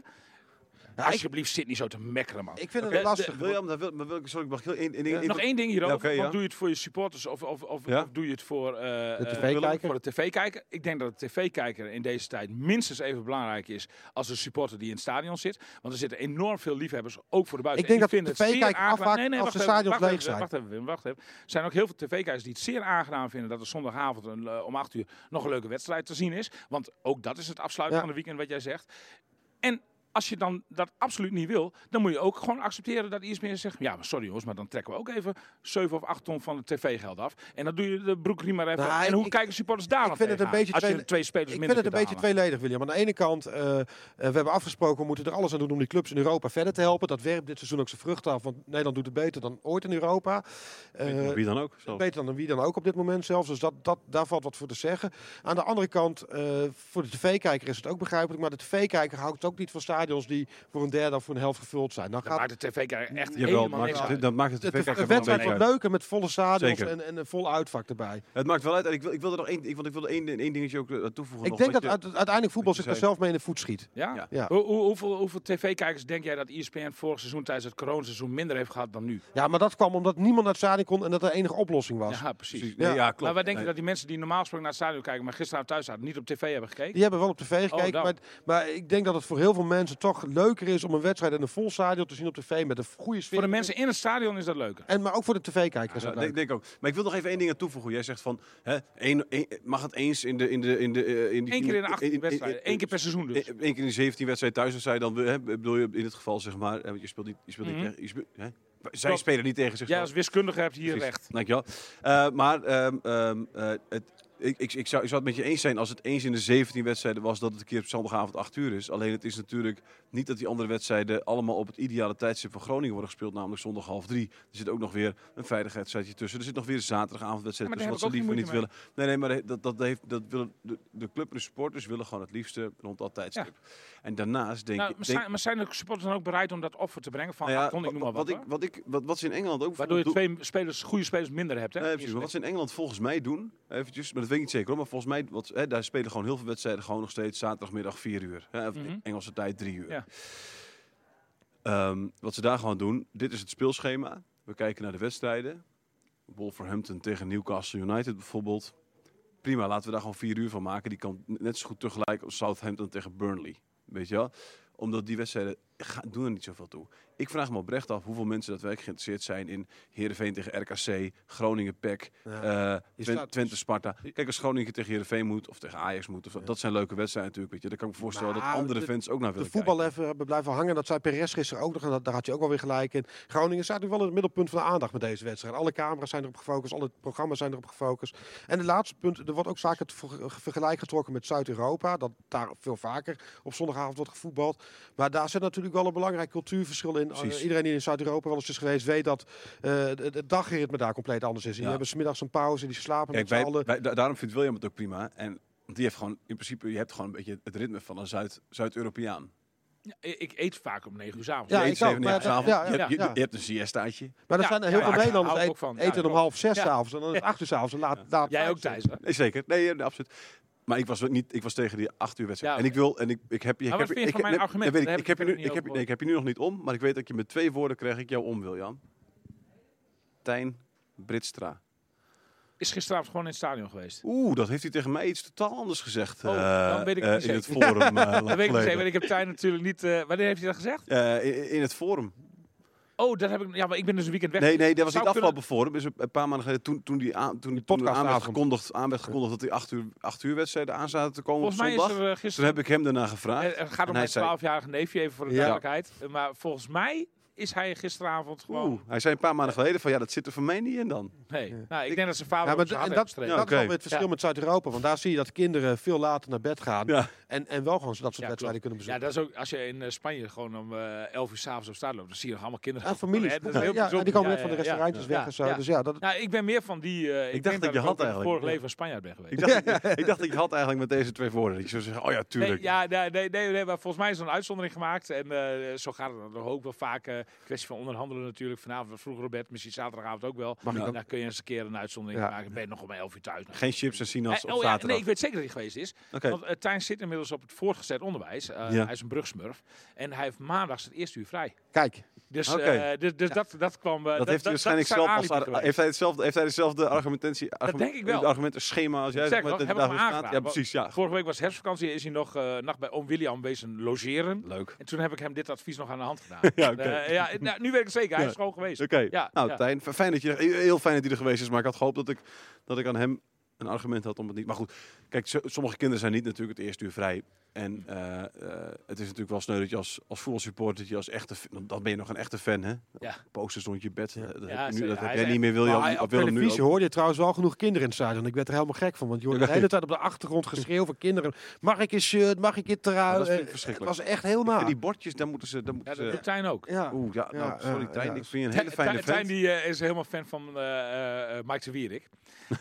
Ja, ik-
Alsjeblieft, zit niet zo te mekkeren, man.
Ik vind het
Oké,
lastig.
William, daar wil, maar wil ik, sorry, mag ik heel één- één ding-
Eh, nog
even-
één ding hierover.
Ja, oké,
want
ja.
doe je het voor je supporters of, of, of,
Ja.
of doe je het voor eh, eh,
TV-kijker?
Willem, Voor de tv-kijker. Ik denk dat de tv-kijker in deze tijd minstens even belangrijk is als de supporter die in het stadion zit. Want er zitten enorm veel liefhebbers, ook voor de buiten.
Ik denk
En
dat
vinden
de
het zeer
TV-kijker
aangenaam-
afhaakt als de
wacht even,
stadions
wacht
leeg
even,
zijn.
Wacht even, Wim, wacht even. Er zijn ook heel veel tv-kijkers die het zeer aangenaam vinden dat er zondagavond een, eh, om 8 uur nog een leuke wedstrijd te zien is. Want ook dat is het afsluiten
Ja.
van het weekend wat jij zegt. En als je dan dat absoluut niet wil, dan moet je ook gewoon accepteren dat ISBN zegt... ja, maar sorry jongens, maar dan trekken we ook even 7 of 8 ton van het tv-geld af. En dan doe je de broekriem maar even.
Nou,
en hoe
ik-
kijken supporters daar
ik
dan
vind het een
tegenaan?
beetje
Als je
twee-
twee spelers
Ik
minder
vind het een
kunt
beetje
halen.
tweeledig, William. Aan de ene kant, eh, eh, we hebben afgesproken, we moeten er alles aan doen om die clubs in Europa verder te helpen. Dat werpt dit seizoen ook zijn vruchten af, want Nederland doet het beter dan ooit in Europa. Eh,
Wie dan ook. zelfs.
beter dan wie dan ook op dit moment zelfs. Dus dat, dat, daar valt wat voor te zeggen. Aan de andere kant, eh, voor de tv-kijker is het ook begrijpelijk. Maar de tv-kijker houdt ook niet van stadions die voor een derde of voor een helft gevuld zijn. Dan
Dat
gaat
maakt de tv-kijker echt
Jawel,
helemaal niks
maar
uit.
dat maakt het
de,
tv
de,
kijker
de
wel een
wedstrijd
beetje
wordt
uit.
leuker met volle stadions
Zeker.
en, en een vol uitvak erbij.
Het maakt wel uit. En ik, wil, ik wilde nog één, ik, want ik wilde één, één dingetje ook eh, toevoegen.
Ik
nog,
denk dat
je-
uite- uiteindelijk voetbal
wat je
zich daar
zei.
zelf mee in de voet schiet.
Ja?
Ja.
Ja.
Hoe, hoe- hoeveel, hoeveel tv-kijkers denk jij dat ESPN vorig seizoen tijdens het coronaseizoen minder heeft gehad dan nu?
Ja, maar dat kwam omdat niemand naar het stadion kon en dat er enige oplossing was.
Ja, precies.
Precies.
Ja.
Nee, ja, klopt.
Maar wij denken
Nee.
dat die mensen die normaal gesproken naar het stadion kijken, maar gisteravond thuis zaten, niet op tv hebben gekeken?
Die hebben wel op tv gekeken,
Oh,
dan.
maar, maar ik denk dat het voor heel veel mensen toch leuker is om een wedstrijd in een vol stadion te zien op tv met een goede sfeer.
Voor de mensen in het stadion is dat leuker.
En, maar ook voor de tv-kijker is
Ja,
dat
denk,
leuk.
denk ook. Maar ik wil nog even één ding aan toevoegen. Jij zegt van, hè, één, één- mag het eens in de... In de, in de eh, in die,
Eén keer in de
in-
18
in-
wedstrijden.
in-
Eén keer per seizoen dus.
Eén één keer in de 17 wedstrijd thuis, dan zei je dan, hè, bedoel je in dit geval zeg maar, hè, want je speelt niet, je speelt niet
Mhm.
tegen- je speelt- hè? Zij
Klopt.
spelen niet tegen zichzelf.
Jij als wiskundige hebt hier
Precies.
recht.
Dankjewel. Eh, maar ehm, ehm, eh, het, ik, ik, ik, zou, ik zou het met je eens zijn als het eens in de 17 wedstrijden was dat het een keer op zondagavond 8 uur is. Alleen het is natuurlijk niet dat die andere wedstrijden allemaal op het ideale tijdstip van Groningen worden gespeeld, namelijk zondag half drie. Er zit ook nog weer een veiligheidswedstrijdje tussen. Er zit nog weer een zaterdagavondwedstrijd
Ja, maar
tussen,
daar
wat ze
heb ik
liever niet
ook geen
willen. Nee, nee, maar dat, dat heeft, dat willen, de, de club en de supporters willen gewoon het liefste rond dat tijdstip. En daarnaast denk
Nou,
ik...
maar,
denk-
zijn, maar zijn de supporters dan ook bereid om dat offer te brengen? Van,
nou ja,
ah, kon ik noem maar wat,
wat, ik,
hoor.
wat, ik, wat, wat ze in Engeland ook
Waardoor je
doen-
twee spelers, goede spelers minder hebt. Hè?
Nee, precies. Maar wat ze in Engeland volgens mij doen, eventjes, maar dat weet ik niet zeker hoor, maar volgens mij, wat, hè, daar spelen gewoon heel veel wedstrijden gewoon nog steeds zaterdagmiddag 4 uur. Hè, of
Mhm.
Engelse tijd 3 uur.
Ja.
Ehm, wat ze daar gewoon doen, dit is het speelschema. We kijken naar de wedstrijden. Wolverhampton tegen Newcastle United bijvoorbeeld. Prima, laten we daar gewoon 4 uur van maken. Die kan net zo goed tegelijk als Southampton tegen Burnley. Weet je wel? Omdat die wedstrijden ga- doen er niet zoveel toe. Ik vraag me oprecht af hoeveel mensen daadwerkelijk geïnteresseerd zijn in Heerenveen tegen RKC, Groningen PEC,
Ja.
eh,
Je
Twen-
staat-
Twente Sparta. Kijk, als Groningen tegen Heerenveen moet of tegen Ajax moet, of, zo, dat zijn leuke wedstrijden natuurlijk. Weet je. Dan kan ik me voorstellen
Maar
dat andere
de-
fans ook naar
De
willen kijken.
voetbal even blijven hangen, dat zei Perez gisteren ook nog. En dat, daar had je ook wel weer gelijk in. Groningen staat nu wel in het middelpunt van de aandacht met deze wedstrijd. Alle camera's zijn erop gefocust, alle programma's zijn erop gefocust. En het laatste punt, er wordt ook vaak het ver- vergelijk getrokken met Zuid-Europa. Dat daar veel vaker op zondagavond wordt gevoetbald. Maar daar zit natuurlijk wel een belangrijk cultuurverschil in.
Precies.
Eh, iedereen die in Zuid-Europa wel eens is geweest, weet dat eh, het het dagritme daar compleet anders is. Die
Ja.
hebben smiddags een pauze, die slapen
Kijk,
met z'n
wij,
allen.
wij- da- daarom vindt William het ook prima. En want die heeft gewoon, in principe, je hebt gewoon een beetje het ritme van een Zuid- Zuid-Europeaan.
ik, ik eet vaak om 9 uur 's avonds.
Ja,
je
ik
eet
ook,
zeven uur
maar dat-
s'avonds,
ja,
je, hebt- je-
ja.
je hebt een siestaatje.
Maar er
Ja,
zijn
ja,
heel
ja,
veel
ja,
Nederlanders
hou ik
eet-
ook van. Ja,
eten
ik
om
ook.
half zes
Ja.
s'avonds en dan is het acht uur s'avonds. en Laat, laat
Jij
laat
ook,
zijn.
Thijs. hè?
Nee, zeker. Nee, eh, absoluut. Maar ik was, wel niet, ik was tegen die acht uur wedstrijd.
Ja,
en ik wil, en ik, ik heb je. Ik
Maar wat
heb,
vind je
ik,
van mijn
nee,
argument?
dat weet
Daar
ik,
heb
ik, heb
ik
je nu, ik,
verder niet
heb,
over
nee, ik heb je nu nog niet om, maar ik weet dat je met twee woorden krijg ik jou om wil, Jan. Tijn Britstra.
is gisteravond gewoon in het stadion geweest.
Oeh, dat heeft hij tegen mij iets totaal anders gezegd.
Oh,
eh,
dan weet ik
eh,
het
in het
niet zeker.
forum. eh, lang
Dat weet ik niet
geleden.
zeker, want ik heb tijd natuurlijk niet... eh, wanneer heeft hij dat gezegd?
Eh, in, in het forum.
Oh, dat heb ik... Ja, maar ik ben dus een weekend weg.
Nee, nee, dat was
Zou
niet afgelopen
kunnen-
forum. Is een paar maanden geleden toen, toen die aan, toen, toen er aan werd
podcastavond.
gekondigd, aan werd gekondigd dat die acht uur, acht uur wedstrijden aan zaten te komen
Volgens
op
mij is
zondag.
er eh,
Toen
gisteren...
heb ik hem daarna gevraagd.
eh, Het gaat om
hij
mijn
zei-
12-jarige neefje, even voor de
Ja.
duidelijkheid. Eh, Maar volgens mij is hij gisteravond gewoon...
Oeh, hij zei een paar maanden geleden van ja, dat zit er voor mij niet in dan.
Nee, nou, ik
Ik-
denk dat zijn vader
Ja,
ja,
maar
op
d-
zijn
en
hart
dat,
heeft gestreken.
dat is
Ja,
wel
oké.
weer het verschil met Zuid-Europa. Want daar zie je dat kinderen veel later naar bed
Ah,
gaan.
Ja.
En, en wel gewoon dat soort
Ja,
wedstrijden kunnen
Ja,
bezoeken.
dat is ook als je in eh, Spanje gewoon om eh 11 uur s'avonds op straat loopt, dan zie je nog allemaal kinderen.
en Ah, families.
Ja,
Ja,
dat is heel
ja, en
bijzonder.
die komen
Ja,
net van de
ja, ja.
restaurantjes weg
Ja,
en zo.
ja.
Dus ja, dat,
Nou, ik ben meer van die. eh,
dacht
ik, denk
dat je had
ik ook in het
eigenlijk.
vorig
Ja.
leven een Spanjaard ben geweest.
Ik dacht, ik dacht, ik had eigenlijk met deze twee woorden. Ik zou zeggen, oh ja, tuurlijk.
Nee, ja, nee, nee, nee, nee, maar volgens mij is er een uitzondering gemaakt. En eh, zo gaat het dan ook wel vaak. eh kwestie van onderhandelen natuurlijk. Vanavond vroeger op bed, misschien zaterdagavond ook wel.
Mag ik
dan?
dan-
Daar kun je eens een keer een uitzondering
Ja.
maken. Dan ben je nog om 11 uur thuis.
Geen chips en sinaas op
Eh, oh ja, nee,
zaterdag.
ik weet zeker dat hij geweest is.
Oké.
Want eh, Tijn zit inmiddels op het voortgezet onderwijs. Eh,
Ja.
Hij is een brugsmurf. En hij heeft maandags het eerste uur vrij.
kijk.
Dus,
Oké.
eh, dus, dus dat, dat kwam... eh,
Dat, heeft hij waarschijnlijk
zijn
zelf als
alibi
ar-
geweest.
heeft hij hetzelfde heeft hij dezelfde argumentatie argument-
denk ik wel.
argumentenschema als jij
Zeg
maar
nog,
dat
heb
je
ik me
daarvoor staat.
aangedaan.
Ja, precies, ja.
Vorige week was herfstvakantie. Is hij nog eh nacht bij oom William wezen logeren.
Leuk.
En toen heb ik hem dit advies nog aan de hand gedaan.
Ja, oké.
Eh, ja, nou, nu weet ik het zeker. Hij
Ja.
is gewoon geweest.
Oké.
Ja,
nou,
ja.
Tijn, f- fijn dat je heel fijn dat hij er geweest is, maar ik had gehoopt dat ik dat ik aan hem een argument had om het niet. Maar goed, kijk, zo- sommige kinderen zijn niet natuurlijk het eerste uur vrij. En eh, eh, het is natuurlijk wel sneu dat je als, als voetbalsupporter, dat je als echte, f- want dan ben je nog een echte fan, hè?
Ja.
Posters rond je bed. eh, Dat,
Ja,
heb, je nu,
zeker.
dat heb
Hij
jij
is
niet meer, wil je,
Maar
op,
op
wil hem nu
televisie
ook-
hoorde je trouwens wel genoeg kinderen in het stadion. Ik werd er helemaal gek van. Want je hoorde de hele tijd op de achtergrond geschreeuw van kinderen. Mag ik je shirt? Mag ik je
Ja, dat
trui?
vind ik
Eh, Het
verschrikkelijk.
was echt heel
En
naar.
die bordjes, daar moeten ze, daar moeten
Ja, dat
ze.
doet Tijn ook.
Ja.
Oeh, ja, nou,
Ja,
sorry,
ja,
Tijn,
ja.
ik vind je een
Tijn-
hele fijne
Tijn-
fan.
Tijn die, eh, is helemaal fan van eh, eh, Mike de Wierik.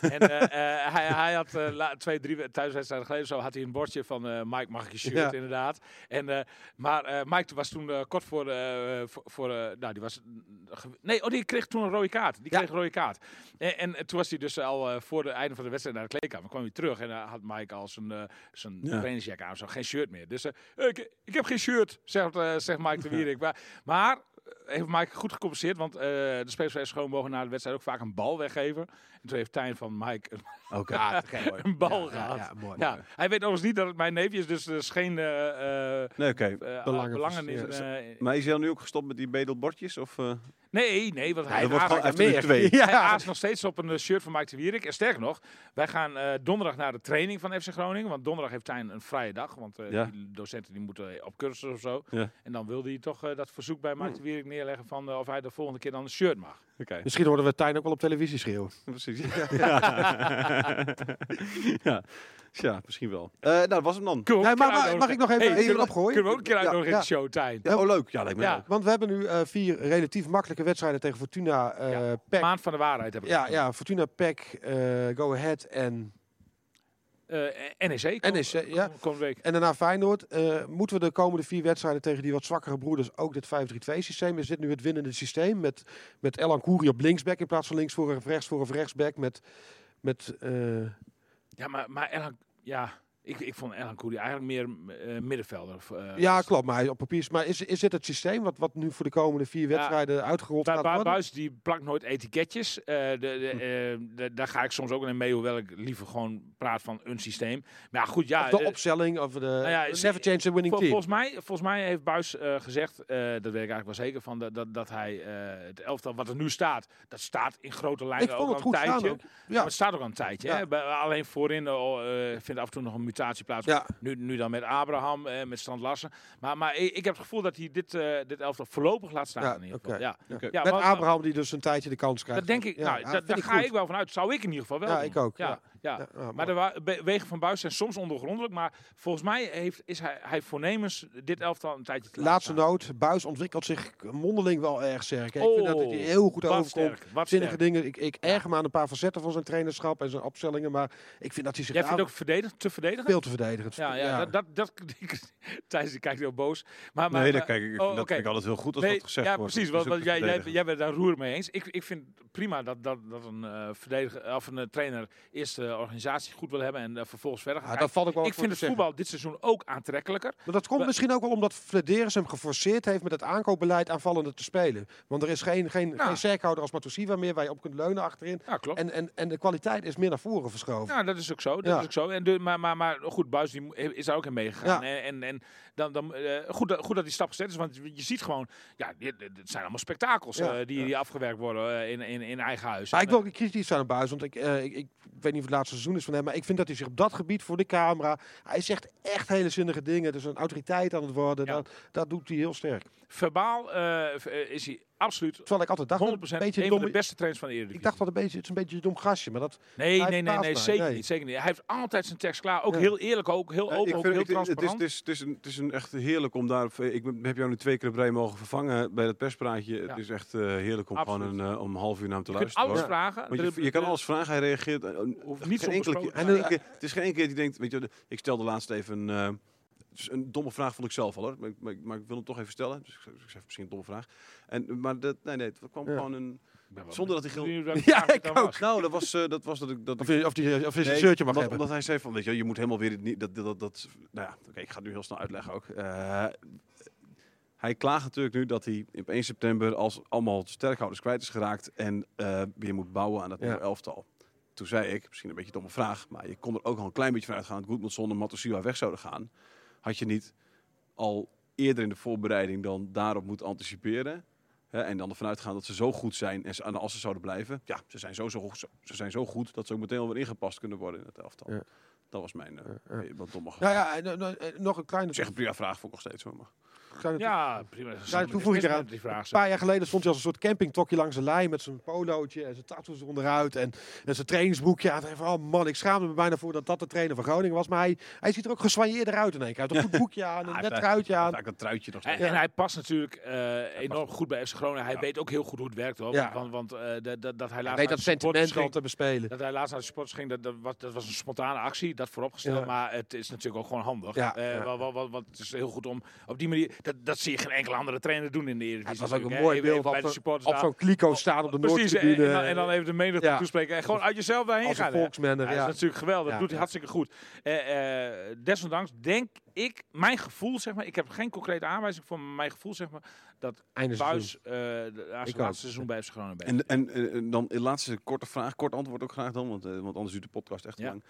en eh, eh, hij, hij had eh, la- twee, drie we- thuiswedstrijden geleden zo had hij een bordje van eh, Mike mag ik je shirt
Ja.
inderdaad. En, eh, maar eh, Mike was toen eh, kort voor, eh, voor, voor, eh, nou die was, nee oh die kreeg toen een rode kaart. Die kreeg een rode kaart. En, en toen was hij dus al eh, voor het einde van de wedstrijd naar de kleedkamer. kwam hij terug en eh, had Mike al zijn, eh, zijn
Ja.
trainingsjack aan, zo, geen shirt meer. Dus eh, ik, ik heb geen shirt, zegt, eh, zegt Mike de Wierik. Maar, maar eh, heeft Mike goed gecompenseerd, want eh, de spelers van Schoon mogen na de wedstrijd ook vaak een bal weggeven. En toen heeft Tijn van Mike een,
Oké.
een bal gehad. Ja,
Ja, mooi.
hij weet overigens niet dat het mijn neefje is, dus er is geen eh, eh,
Nee, oké.
eh,
Belangen-
belangen in
Ja,
zijn... eh,
Maar is hij dan nu ook gestopt met die bedelbordjes? Of, eh?
nee, nee, want hij
er wordt gewoon
aast-
even nu twee.
Hij aast nog steeds op een eh, shirt van Mike de Wierik. En sterker nog, wij gaan eh, donderdag naar de training van FC Groningen. Want donderdag heeft Tijn een vrije dag. Want eh,
Ja.
die docenten die moeten op cursus of zo.
Ja.
En dan wilde hij toch eh, dat verzoek bij Mike de Wierik neerleggen van eh, of hij de volgende keer dan een shirt mag.
Oké.
Misschien hoorden we Tijn ook wel op televisie schreeuwen.
Precies. Ja. ja. Tja, misschien wel. Eh, nou, dat was hem dan.
Kunnen we
Nee,
ook een
maar,
keer
maar mag
uitnodigen?
ik nog even,
Hey,
even
kunnen we-
opgooien?
Kunnen we ook een keer uitnodigen
Ja,
in de show, Tijn?
Ja, oh, leuk. Ja, lijkt me
Ja.
ook.
Want we hebben nu eh, vier relatief makkelijke wedstrijden tegen Fortuna, eh
Ja.
PEC.
Maand van de waarheid heb ik.
Ja, ja, Fortuna, PEC, eh, Go Ahead en,
Eh, NEC. kom-
NEC, E ja.
kom- Komende week.
en daarna Feyenoord. Eh, moeten we de komende vier wedstrijden tegen die wat zwakkere broeders ook dit 5-3-2-systeem? Is dit nu het winnende systeem met, met Elan Koeri op linksback in plaats van linksvoor of rechtsvoor of rechtsback? Met, met, eh,
Ja, maar, maar Erhan- ja, ik, ik vond Erhan Koeri eigenlijk meer eh, middenvelder. of, eh,
ja,
als-
klopt, maar hij- op papier. is- Maar is, is dit het systeem wat, wat nu voor de komende vier wedstrijden uitgerold
Bij
gaat
Ba-
worden?
Buis die plakt nooit etiketjes. Eh, de,
Hm.
de, eh, de- daar ga ik soms ook in mee, hoewel ik liever gewoon praat van een systeem. Maar ja, goed, ja.
Of de
eh,
opstelling of de
ja,
never change the winning
Vol-
team?
volgens, mij, volgens mij heeft Buis gezegd, eh, dat weet ik eigenlijk wel zeker van, dat, dat, dat hij eh, het elftal wat er nu staat, dat staat in grote lijnen
Ik
ook
vond het
al een
goed staan
tijdje.
ook.
Ja.
Ja.
maar het staat ook al een tijdje.
Ja.
Hè? Bij- Alleen voorin eh, eh, vindt af en toe nog een mutatie plaats.
Ja.
Nu, nu dan met Abraham, eh, met Strand Larsen. Maar, maar ik, ik heb het gevoel dat hij dit, eh, dit elftal voorlopig laat staan.
Ja,
in ieder geval.
oké.
Ja.
Oké.
Ja,
Met
want-
Abraham die dus een tijdje de kans krijgt.
Dat denk ik,
Ja,
nou,
ja,
da-
vind
daar
ik
ga
goed.
ik wel vanuit. zou ik in ieder geval wel
Ja,
doen.
ik ook,
Ja,
ja.
ja.
Ja, ja,
maar
mooi.
de wa- be- wegen van Buis zijn soms ondergrondelijk. Maar volgens mij heeft, is hij, hij voornemens dit elftal een tijdje te laten
Laatste
staan.
noot. Buis ontwikkelt zich mondeling wel erg sterk. hè. Ik vind dat
Oh,
hij heel goed
Wat
overkomt.
sterk, wat
Zinnige
sterk.
dingen. Ik, ik erger me aan een paar facetten van zijn trainerschap en zijn opstellingen. Maar ik vind dat hij zich
Jij vindt
daar
ook verdedigd, te verdedigen?
veel te verdedigend.
Ja, ja, dat... dat, dat Thijs die kijkt heel boos. Maar, maar,
Nee, dat,
maar-
kijk, ik,
oh,
dat
oké.
vind ik altijd heel goed als
Nee,
wat gezegd
ja,
wordt. dus
precies.
Dat
Want,
is
want
ook
jij,
te
jij,
verdedigen.
jij bent daar roer mee eens. Ik, ik vind prima dat, dat, dat een, eh, verdediger, of een eh, trainer eerst eh, de organisatie goed wil hebben en eh, vervolgens verder gaan.
Ja, daar val ik wel
ik
wat voor
vind
te zeggen.
het voetbal dit seizoen ook aantrekkelijker.
Maar dat komt
Maar-
misschien ook wel omdat Flederis hem geforceerd heeft met het aankoopbeleid aanvallende te spelen. Want er is geen, geen,
Nou.
geen sterkhouder als Matosiva meer waar je op kunt leunen achterin.
Ja, klopt.
En, en, en de kwaliteit is meer naar voren verschoven.
Ja, dat is ook zo. Dat
Ja.
is ook zo. En de, maar, maar, maar goed, Buis die mo- is daar ook in meegegaan. En, en, en dan, dan, eh, goed, dat- goed dat die stap gezet is, want je ziet gewoon, ja, dit, dit- dit zijn allemaal spektakels
Ja,
eh, die, die afgewerkt worden eh, in, in, in eigen huis.
Maar
En,
ik wil ook kritisch zijn op Buis, want ik, eh, ik, ik weet niet of het laatste seizoen is van hem, maar ik vind dat hij zich op dat gebied voor de camera, hij zegt echt hele zinnige dingen, dus een autoriteit aan het worden,
Ja.
dat, dat doet hij heel sterk.
eh, verbaal eh, v- eh, is hij absoluut 100%
Terwijl ik altijd dacht, dat het een beetje
een
dom,
van de beste trainers van de Eredivisie.
ik dacht dat een beetje, het is een beetje een dom gastje, maar dat,
nee,
hij
nee, nee,
verbaast
nee,
mij.
zeker
Nee.
niet, zeker niet. Hij heeft altijd zijn tekst klaar. Ook
Ja.
heel eerlijk, ook heel
Ja,
open, ook
vind-
heel
Eh, ik- het, is, het,
transparant.
is, het, is een, het is een echt heerlijk om daar. eh, Ik ben- heb jou nu twee keer op rij mogen vervangen bij dat perspraatje.
Ja.
Het is echt eh, heerlijk om
Absoluut.
gewoon een, eh, om een half uur naar hem te
Je kunt
luisteren.
alles
hoor.
vragen.
Want je, je kan alles vragen, hij reageert. eh,
Hoeft
geen
niet zo
enkele
besproken
keer-
te
geen enkele- Het is geen enkele keer die denkt. Weet je, de- ik stelde laatst even een. eh, het is een domme vraag vond ik zelf al hoor. Maar, ik- maar, ik- maar ik wil hem toch even stellen. Dus ik, zeg- ik zeg misschien een domme vraag. En, maar dat, nee, nee, het kwam
Ja.
gewoon een. Zonder dat hij gil-
Ja,
ik ook.
Nou, dat was, eh, dat was dat ik. Dat
of
ik
hij, of die, of hij zijn
Nee,
shirtje mag
omdat,
hebben.
omdat hij zei van, weet je, wel, je moet helemaal weer het niet- dat dat dat. dat nou ja, oké, ik ga het nu heel snel uitleggen ook. Eh, hij klaagt natuurlijk nu dat hij op 1 september als allemaal sterkhouders kwijt is geraakt en eh, weer moet bouwen aan dat
Ja.
nieuwe elftal. Toen zei ik, misschien een beetje een domme vraag, maar je kon er ook al een klein beetje van uitgaan dat Goedmanson en Matosiwa weg zouden gaan. Had je niet al eerder in de voorbereiding dan daarop moet anticiperen. Hè, en dan ervan uitgaan dat ze zo goed zijn en ze, en als ze zouden blijven. Ja, ze zijn zo, zo, goed- zo- ze zijn zo goed dat ze ook meteen alweer ingepast kunnen worden in het elftal.
Ja.
Dat was mijn eh, wat domme
Nou ja, en, en- en nog een kleine,
Ik zeg een prima vraag, vond ik nog steeds hoor. Maar.
kleine
Ja, prima.
Ja, toen voeg ik eraan.
Die vraag
Een paar jaar geleden stond hij als een soort campingtokje langs de lijn met zijn polootje en zijn tattoos onderuit en, en zijn trainingsboekje. En van, oh man, ik schaamde me bijna voor dat dat de trainer van Groningen was. Maar hij, hij ziet er ook geswanjeerder uit in één keer. Hij heeft een goed boekje aan, een
hij
net
heeft
truitje aan.
Vaak dat truitje nog
En,
steeds.
en hij past natuurlijk eh, enorm goed bij FC Groningen. Hij weet ook heel goed hoe het werkt. Hoor.
Ja.
Want, want eh, dat, dat, dat hij
Hij weet
laatst naar
dat
de supporters
sentiment al
ging-
te bespelen.
dat hij laatst naar de sports ging, dat, dat, was, dat was een spontane actie, dat vooropgesteld.
Ja.
Maar het is natuurlijk ook gewoon handig.
Ja,
Eh,
ja.
wa- wa- wa- want het is heel goed om op die manier... Dat, dat zie je geen enkele andere trainer doen in de Eredivisie.
Het was ook een
natuurlijk, hè.
mooi
Even-
beeld
even bij
op,
de
zo'n-
supporters
op
daar.
zo'n kliko staan op de
Precies, en, en, dan,
Noordtribune.
en dan even de menigte
Ja.
toespreken. En gewoon uit jezelf daarheen
Als een
gaan. hè.
volksmanner,
Ja,
ja.
Dat is natuurlijk geweldig.
Ja,
dat doet
ja.
hij hartstikke goed. Eh, eh, desondanks denk ik, mijn gevoel zeg maar... Ik heb geen concrete aanwijzing voor mijn gevoel zeg maar... Dat
Einde seizoen.
Buis eh de aan
Ik
zijn
ook.
laatste seizoen bij FC Groningen bent.
En, en, eh, en dan de laatste korte vraag, kort antwoord ook graag dan, want, eh, want anders duurt de podcast echt te
Ja.
lang.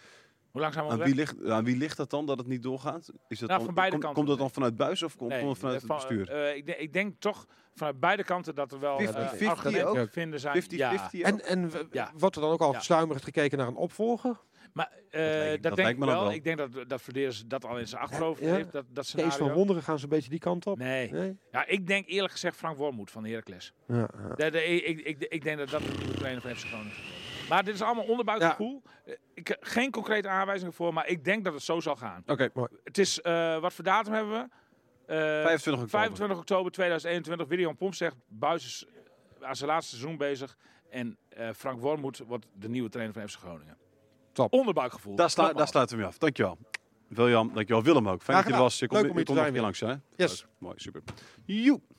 Hoe lang zijn we
Aan
onderweg?
wie, ligt, aan wie ligt dat dan dat het niet doorgaat? Is dat
Nou,
dan-
van
komt-
beide kanten.
Komt dat dan vanuit buis of komt,
Nee,
komt het vanuit
eh,
het
van-
bestuur?
eh, ik, denk, ik denk toch vanuit beide kanten dat er wel
50-50
eh, argumenten
ook?
te vinden zijn.
50-50
ja. eh,
ook?
En, en w-
Ja.
wordt er dan ook al
Ja.
sluimerend gekeken naar een opvolger?
Maar eh,
lijkt- dat
dat, denk
lijkt
ik
me dan
wel.
wel.
Ik denk dat, dat Verdeers dat al in zijn achterhoofd
Ja.
heeft, dat, dat
Kees van
scenario.
Wonderen gaan ze een beetje die kant op?
Nee.
Nee?
Ja, ik denk eerlijk gezegd Frank Wormoed van Heracles.
Ja, ja.
Dat- dat- ik, ik, ik, ik denk dat dat de nieuwe trainer van FC Groningen gaat worden. Maar dit is allemaal onderbuikgevoel. Eh, Ik, geen concrete aanwijzingen voor, maar ik denk dat het zo zal gaan.
Oké,
Het is, eh, wat voor datum hebben we? Eh,
25 oktober.
25 oktober 2021. William Pomp zegt, Buis is aan zijn laatste seizoen bezig. En eh, Frank Wormoed wordt de nieuwe trainer van FC Groningen.
Top.
Onderbuikgevoel.
Daar, sla,
Nogmaals.
daar sluiten we mee af. Dankjewel. William, dankjewel. Willem ook. Fijn dat
Graag
je er
gedaan.
was. Je komt
Leuk om
je
hier
komt nog
te
een keer
zijn
langs, hè?
Yes.
Mooi, super. Joep.